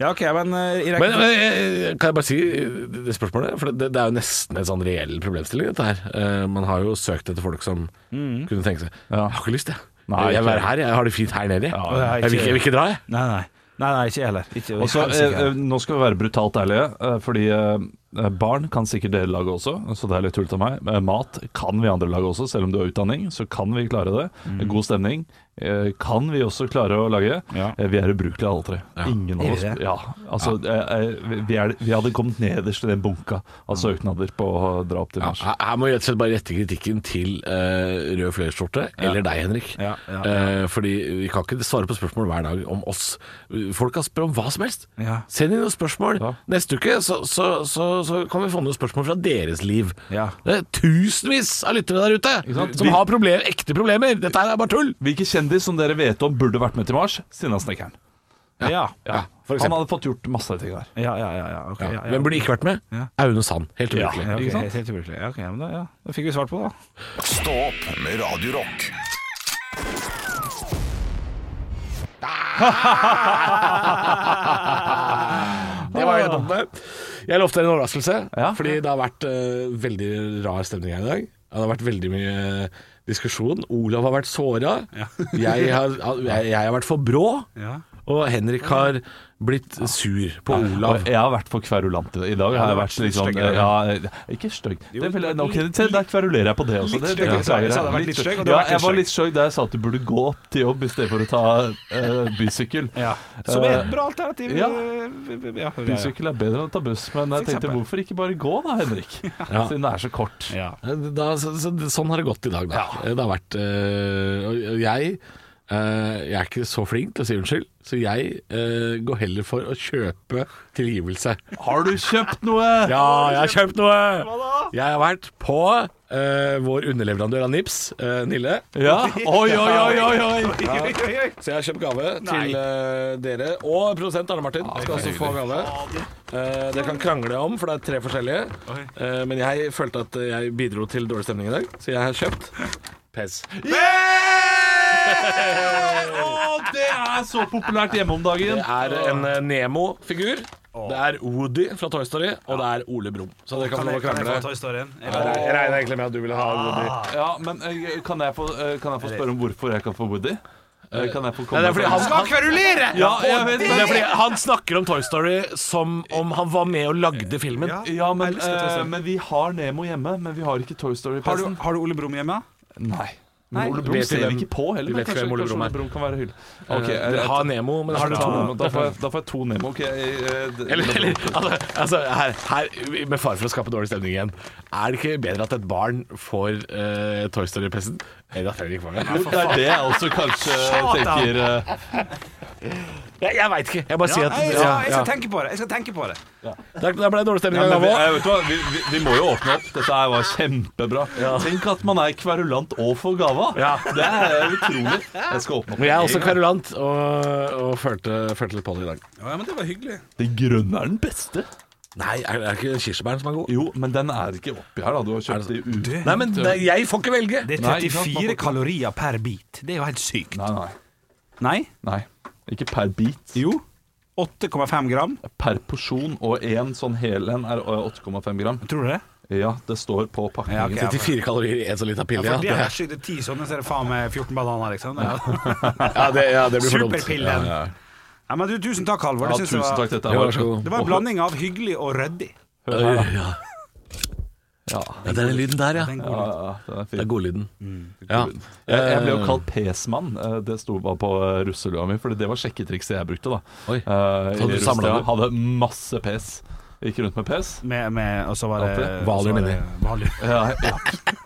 [SPEAKER 4] Ja, OK, men eh, i
[SPEAKER 5] Men,
[SPEAKER 4] rekken
[SPEAKER 5] men eh, kan jeg bare si eh, det spørsmålet? For det, det er jo nesten en sånn reell problemstilling, dette her. Eh, Man har jo søkt etter folk som
[SPEAKER 4] Mm.
[SPEAKER 5] kunne tenke seg
[SPEAKER 3] Ja.
[SPEAKER 5] Jeg har ikke lyst, jeg.
[SPEAKER 3] Nei,
[SPEAKER 5] jeg vil
[SPEAKER 3] ikke.
[SPEAKER 5] være her, jeg har det fint her nede. jeg.
[SPEAKER 4] ja,
[SPEAKER 5] jeg, vil ikke, jeg vil ikke dra, jeg.
[SPEAKER 4] Nei, nei. Nei, nei, ikke jeg heller. Ikke,
[SPEAKER 3] Og så,
[SPEAKER 4] helsike.
[SPEAKER 3] eh, eh, nå skal vi være brutalt ærlige, eh, fordi eh, barn kan sikkert dere lage også, så det er litt tullete av meg. Eh, mat kan vi andre lage også, selv om du har utdanning, så kan vi klare det. God stemning eh, kan vi også klare å lage.
[SPEAKER 4] Ja.
[SPEAKER 3] Eh, vi er ubrukelige alle tre. Ingen
[SPEAKER 4] Er
[SPEAKER 3] av
[SPEAKER 4] vi
[SPEAKER 3] oss
[SPEAKER 4] det?
[SPEAKER 3] ja, altså, eh, eh, vi- vi, er, vi hadde kommet nederst i den bunka av søknader på å dra opp til
[SPEAKER 5] Ja,
[SPEAKER 3] Mars.
[SPEAKER 5] her- her må jeg rett og slett bare rette kritikken til eh, Rød Fløyelsskjorte, eller deg, Henrik.
[SPEAKER 4] Ja, ja,
[SPEAKER 5] Eh, fordi vi kan ikke svare på spørsmål hver dag om oss. Folk kan spørre om hva som helst.
[SPEAKER 4] Ja.
[SPEAKER 5] Send inn noen spørsmål.
[SPEAKER 3] Ja.
[SPEAKER 5] Neste uke så, så, så, så kan vi få noen spørsmål fra deres liv.
[SPEAKER 4] Ja.
[SPEAKER 5] Det er tusenvis av lyttere der ute
[SPEAKER 3] sant?
[SPEAKER 5] som
[SPEAKER 3] Vi-
[SPEAKER 5] har problem, ekte problemer. Dette her er bare tull.
[SPEAKER 3] Hvilken kjendis som dere vet om burde vært med til Mars? Stina Snekkeren.
[SPEAKER 4] ja.
[SPEAKER 3] Ja.
[SPEAKER 5] for
[SPEAKER 3] Han
[SPEAKER 5] eksempel.
[SPEAKER 3] hadde fått gjort masse ting der.
[SPEAKER 4] Ja, ja, ja, ja, ok, ja, ja.
[SPEAKER 5] Hvem burde ikke vært med?
[SPEAKER 4] Ja.
[SPEAKER 5] Aune Sand. Helt
[SPEAKER 3] Ja.
[SPEAKER 5] uvirkelig.
[SPEAKER 4] ja,
[SPEAKER 3] Ikke
[SPEAKER 4] ok,
[SPEAKER 3] sant?
[SPEAKER 4] Helt ubrukelig. Ja, ok, men da, ja. da fikk vi svart på det, da.
[SPEAKER 1] Stå opp med Radio Rock.
[SPEAKER 5] Det var helt oppe. Jeg lovte dere en overraskelse,
[SPEAKER 3] Ah. Ja.
[SPEAKER 5] fordi det har vært eh, veldig rar stemning her i dag. Det har vært veldig mye diskusjon. Olav har vært såra. Jeg, har, jeg, jeg har vært for brå.
[SPEAKER 4] Ja.
[SPEAKER 5] Og Henrik har blitt sur på Olav.
[SPEAKER 3] Og jeg har vært for kverulant i dag. Har jeg vært litt sånn
[SPEAKER 4] styggere.
[SPEAKER 3] ja, Ikke stygg. Det vil jeg- ok, se, Der kverulerer jeg på det også. Det- det
[SPEAKER 4] stygg,
[SPEAKER 3] beklager
[SPEAKER 4] sa jeg.
[SPEAKER 3] jeg.
[SPEAKER 4] Sa det hadde vært litt stygg, og det
[SPEAKER 3] Ja,
[SPEAKER 4] hadde vært
[SPEAKER 3] jeg
[SPEAKER 4] litt
[SPEAKER 3] var
[SPEAKER 4] stygg.
[SPEAKER 3] litt stygg da jeg sa at du burde gå opp til jobb i stedet for å ta eh, bysykkel.
[SPEAKER 4] Ja. Som er
[SPEAKER 3] Eh,
[SPEAKER 4] et bra alternativ.
[SPEAKER 3] ja.
[SPEAKER 4] eh, ja, ja, ja.
[SPEAKER 3] Bysykkel er bedre enn å ta buss, men jeg
[SPEAKER 4] For
[SPEAKER 3] tenkte
[SPEAKER 4] eksempel.
[SPEAKER 3] hvorfor ikke bare gå da, Henrik? Siden det er så kort.
[SPEAKER 4] Ja.
[SPEAKER 5] Eh, Da, så, så, sånn har det gått i dag, da. Det har vært eh, og- og jeg eh, jeg er ikke så flink til å si unnskyld, så jeg eh, går heller for å kjøpe tilgivelse.
[SPEAKER 3] Har du kjøpt noe?
[SPEAKER 5] Ja, jeg har kjøpt noe! Jeg har vært på eh, vår underleverandør av Nips, eh, Nille.
[SPEAKER 3] Ja. Oi, oi, oi, oi, oi.
[SPEAKER 4] Oi, oi, oi.
[SPEAKER 5] Så jeg har kjøpt gave til eh, dere. Og produsent Arne Martin skal også få gave. Eh, dere kan krangle om, for det er tre forskjellige. Eh, men jeg følte at jeg bidro til dårlig stemning i dag, så jeg har kjøpt Pez.
[SPEAKER 3] Å, Det er så populært hjemme om
[SPEAKER 5] Det
[SPEAKER 3] dagen.
[SPEAKER 5] er en eh, Nemo-figur. Det er Woody fra Toy Story, og det er Ole Brumm. Så dere kan få lov å
[SPEAKER 4] Kan jeg få Ah.
[SPEAKER 5] krangle.
[SPEAKER 4] Toy Storyen?
[SPEAKER 5] Jeg regner jeg regner egentlig med at du ville ha Woody.
[SPEAKER 3] Ja, men eh, kan jeg, få, eh, kan jeg få spørre om hvorfor jeg kan få Woody? Eh, Kan jeg få
[SPEAKER 5] Nei,
[SPEAKER 3] komme
[SPEAKER 5] det er fordi han,
[SPEAKER 4] Skal kverulere!
[SPEAKER 5] ja, jeg
[SPEAKER 3] vet
[SPEAKER 5] vet, det er fordi han snakker om Toy Story som om han var med og lagde filmen.
[SPEAKER 4] Ja.
[SPEAKER 3] Ja, men,
[SPEAKER 4] Jeg elsker Toy Story.
[SPEAKER 3] eh, men vi har Nemo hjemme, men vi har ikke Toy
[SPEAKER 4] Har du,
[SPEAKER 3] Story-pesten.
[SPEAKER 4] har du Ole Brumm hjemme?
[SPEAKER 3] Nei.
[SPEAKER 4] Nei.
[SPEAKER 3] Men Ole Brumm
[SPEAKER 5] Vet
[SPEAKER 3] ser
[SPEAKER 5] vi
[SPEAKER 3] vi
[SPEAKER 5] hvem-
[SPEAKER 3] ikke på heller.
[SPEAKER 5] vi
[SPEAKER 3] men
[SPEAKER 5] vet ikke
[SPEAKER 3] kanskje-
[SPEAKER 5] hvem Ole
[SPEAKER 3] kanskje
[SPEAKER 5] Brumm er.
[SPEAKER 3] kan være hyll.
[SPEAKER 5] Ok,
[SPEAKER 3] Ok, eh,
[SPEAKER 5] Dere har Nemo, men
[SPEAKER 3] da,
[SPEAKER 5] har dere
[SPEAKER 3] da,
[SPEAKER 5] to?
[SPEAKER 3] da, får jeg, da får jeg to Nemo. Ok, eh, d-
[SPEAKER 5] Eller,
[SPEAKER 3] Ole
[SPEAKER 5] eller
[SPEAKER 3] Brumm.
[SPEAKER 5] altså, altså her, her, med fare for å skape dårlig stemning igjen. Er det ikke bedre at et barn får eh, Toy Story-pressen enn at Fredrik får
[SPEAKER 3] Jo,
[SPEAKER 5] den?
[SPEAKER 3] det er det jeg også kanskje tenker eh,
[SPEAKER 5] Jeg, jeg veit ikke. Jeg bare sier at
[SPEAKER 4] Nei, jeg,
[SPEAKER 5] ja,
[SPEAKER 4] skal, jeg skal
[SPEAKER 5] ja.
[SPEAKER 4] tenke på det. Jeg skal tenke på det
[SPEAKER 5] Der, der ble det dårlig stemning.
[SPEAKER 3] Nei,
[SPEAKER 5] Ja,
[SPEAKER 3] men vi, jeg vet hva, vi, vi, vi må jo åpne opp. Dette her var kjempebra. Tenk at man er kverulant og får gava.
[SPEAKER 5] Ja.
[SPEAKER 3] Det er utrolig. Jeg skal åpne opp.
[SPEAKER 5] men jeg er også kverulant og, og følte, følte litt på det i dag.
[SPEAKER 4] Ja, men det var hyggelig.
[SPEAKER 3] Den grønne er den beste.
[SPEAKER 5] Nei, er, er det ikke kirsebæren som er god?
[SPEAKER 3] Jo, men den er ikke oppi her, da. Du har kjøpt de u...
[SPEAKER 5] Nei, men det, jeg får ikke velge.
[SPEAKER 4] Det er
[SPEAKER 3] Nei, ikke sant,
[SPEAKER 4] 34
[SPEAKER 3] man får-
[SPEAKER 4] kalorier per bit. Det er jo helt sykt.
[SPEAKER 3] Nei, nei.
[SPEAKER 4] Nei?
[SPEAKER 3] nei. Ikke per bit.
[SPEAKER 4] Jo. 8,5 gram.
[SPEAKER 3] Per porsjon, og én sånn hel en er eh, 8,5 gram.
[SPEAKER 4] Tror du det?
[SPEAKER 3] Ja, det står på pakningen.
[SPEAKER 4] Ja, ok.
[SPEAKER 5] 34 kalorier i en så liten pille,
[SPEAKER 4] Ja,
[SPEAKER 5] ja.
[SPEAKER 4] for det er
[SPEAKER 5] Det,
[SPEAKER 4] skyter ti sånne, så er det faen meg 14 bananer, liksom. Ja.
[SPEAKER 5] ja, det, ja, det blir for dumt.
[SPEAKER 4] Superpillen. Ja, men du, tusen takk, Halvor.
[SPEAKER 3] Ja,
[SPEAKER 4] Det, synes jeg
[SPEAKER 3] tusen takk.
[SPEAKER 4] var,
[SPEAKER 3] Dette
[SPEAKER 5] Ja,
[SPEAKER 3] var,
[SPEAKER 5] vær så god.
[SPEAKER 4] det var en blanding av hyggelig og ryddig.
[SPEAKER 3] Hør her, da.
[SPEAKER 5] Ja.
[SPEAKER 3] Ja,
[SPEAKER 5] Ja, den lyden der, ja.
[SPEAKER 4] Den Mm.
[SPEAKER 3] ja,
[SPEAKER 4] gode.
[SPEAKER 3] ja, den er
[SPEAKER 5] Det er
[SPEAKER 3] fin.
[SPEAKER 5] godlyden. Ja.
[SPEAKER 3] Jeg, jeg ble jo kalt pesmann. eh, Det sto bare på eh, russelua mi, for det var sjekketrikset jeg brukte. da
[SPEAKER 5] Oi.
[SPEAKER 3] Eh,
[SPEAKER 5] Så du
[SPEAKER 3] i
[SPEAKER 5] samlet
[SPEAKER 3] russetida
[SPEAKER 5] opp?
[SPEAKER 3] Hadde masse pes. Gikk rundt med pes.
[SPEAKER 4] Med, med, og så var det
[SPEAKER 5] Alltid. Valium
[SPEAKER 4] så var
[SPEAKER 5] inni.
[SPEAKER 4] det Valium.
[SPEAKER 3] Ja, ja.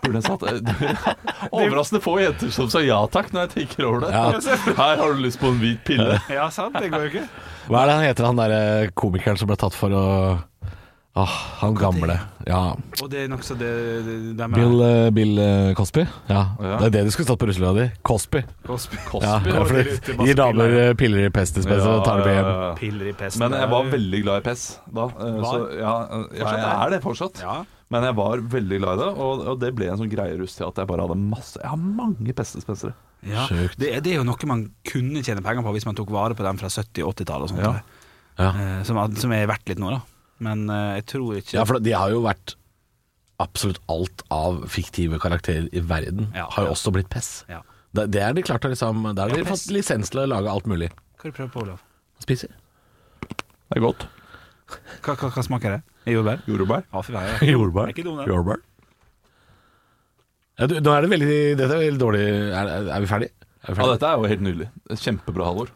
[SPEAKER 3] Burde jeg satt eh, Overraskende få jenter som sa ja takk når jeg tenker over det.
[SPEAKER 5] Ja.
[SPEAKER 3] Her har du lyst på en hvit pille.
[SPEAKER 4] Ja, sant? Det går jo ikke.
[SPEAKER 5] Hva er det han heter, han derre komikeren som ble tatt for å Ah, han gamle. Ja.
[SPEAKER 4] Og det er nokså det, det, det med
[SPEAKER 5] Bill, eh, Bill eh, Cosby. Ja.
[SPEAKER 3] Ja.
[SPEAKER 5] Det er det du skulle stått på russelua di. Cosby.
[SPEAKER 4] Cosby.
[SPEAKER 5] Ja, ja, for det
[SPEAKER 4] Det er masse
[SPEAKER 5] gir damer
[SPEAKER 4] piller.
[SPEAKER 5] eh, piller i pestispenser og tar det med hjem.
[SPEAKER 3] Ja, ja, ja.
[SPEAKER 4] Piller i pesten.
[SPEAKER 3] Men jeg var veldig glad i pes da. eh, Så,
[SPEAKER 4] Var?
[SPEAKER 3] ja, eh, ja, jeg er det fortsatt.
[SPEAKER 4] Ja.
[SPEAKER 3] Men jeg var veldig glad i det, og, og det ble en sånn greie i russetida at jeg bare hadde masse Jeg har mange pestespensere.
[SPEAKER 4] Ja.
[SPEAKER 5] Sjukt.
[SPEAKER 4] Det, er- det er jo noe man kunne tjene penger på hvis man tok vare på dem fra 70- og 80-tallet og sånt.
[SPEAKER 3] Ja.
[SPEAKER 4] tror jeg.
[SPEAKER 5] Ja.
[SPEAKER 4] Eh, Som, er- som er verdt litt nå, da. Men eh, jeg tror ikke
[SPEAKER 5] ja, for de har jo vært absolutt alt av fiktive karakterer i verden.
[SPEAKER 4] Ja,
[SPEAKER 5] Har
[SPEAKER 4] ja.
[SPEAKER 5] jo også blitt pess.
[SPEAKER 4] Ja.
[SPEAKER 5] Det, det er de klart å liksom Der har
[SPEAKER 4] Ja,
[SPEAKER 5] de
[SPEAKER 4] pess.
[SPEAKER 5] fått lisens til å lage alt mulig.
[SPEAKER 4] Hva er det du prøver på, Olav?
[SPEAKER 5] Spiser.
[SPEAKER 3] Det er godt.
[SPEAKER 4] Hva, hva, hva smaker det? Er Jordbær?
[SPEAKER 3] Jordbær.
[SPEAKER 4] Ja, fy faen. ja.
[SPEAKER 5] Jordbær.
[SPEAKER 4] Er ikke dum, den.
[SPEAKER 5] Jordbær. Ja, du, nå er det veldig Dette er veldig dårlig Er, er vi ferdig? Er vi
[SPEAKER 3] Ja,
[SPEAKER 5] ferdig?
[SPEAKER 3] dette er jo helt nydelig. Kjempebra, Halvor.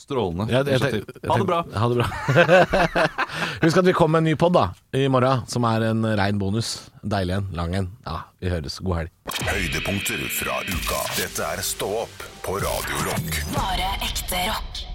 [SPEAKER 3] Strålende.
[SPEAKER 5] Ja, jeg
[SPEAKER 3] initiativ.
[SPEAKER 5] tenk- jeg
[SPEAKER 3] Ha det bra.
[SPEAKER 5] tenk- Ha det bra. Husk at vi kommer med en ny pod da, i morgen, som er en rein bonus. Deilig en, lang en. Ja, vi høres. God helg.
[SPEAKER 1] Høydepunkter fra uka. Dette er Stå opp på Radio Rock.
[SPEAKER 2] Bare ekte rock.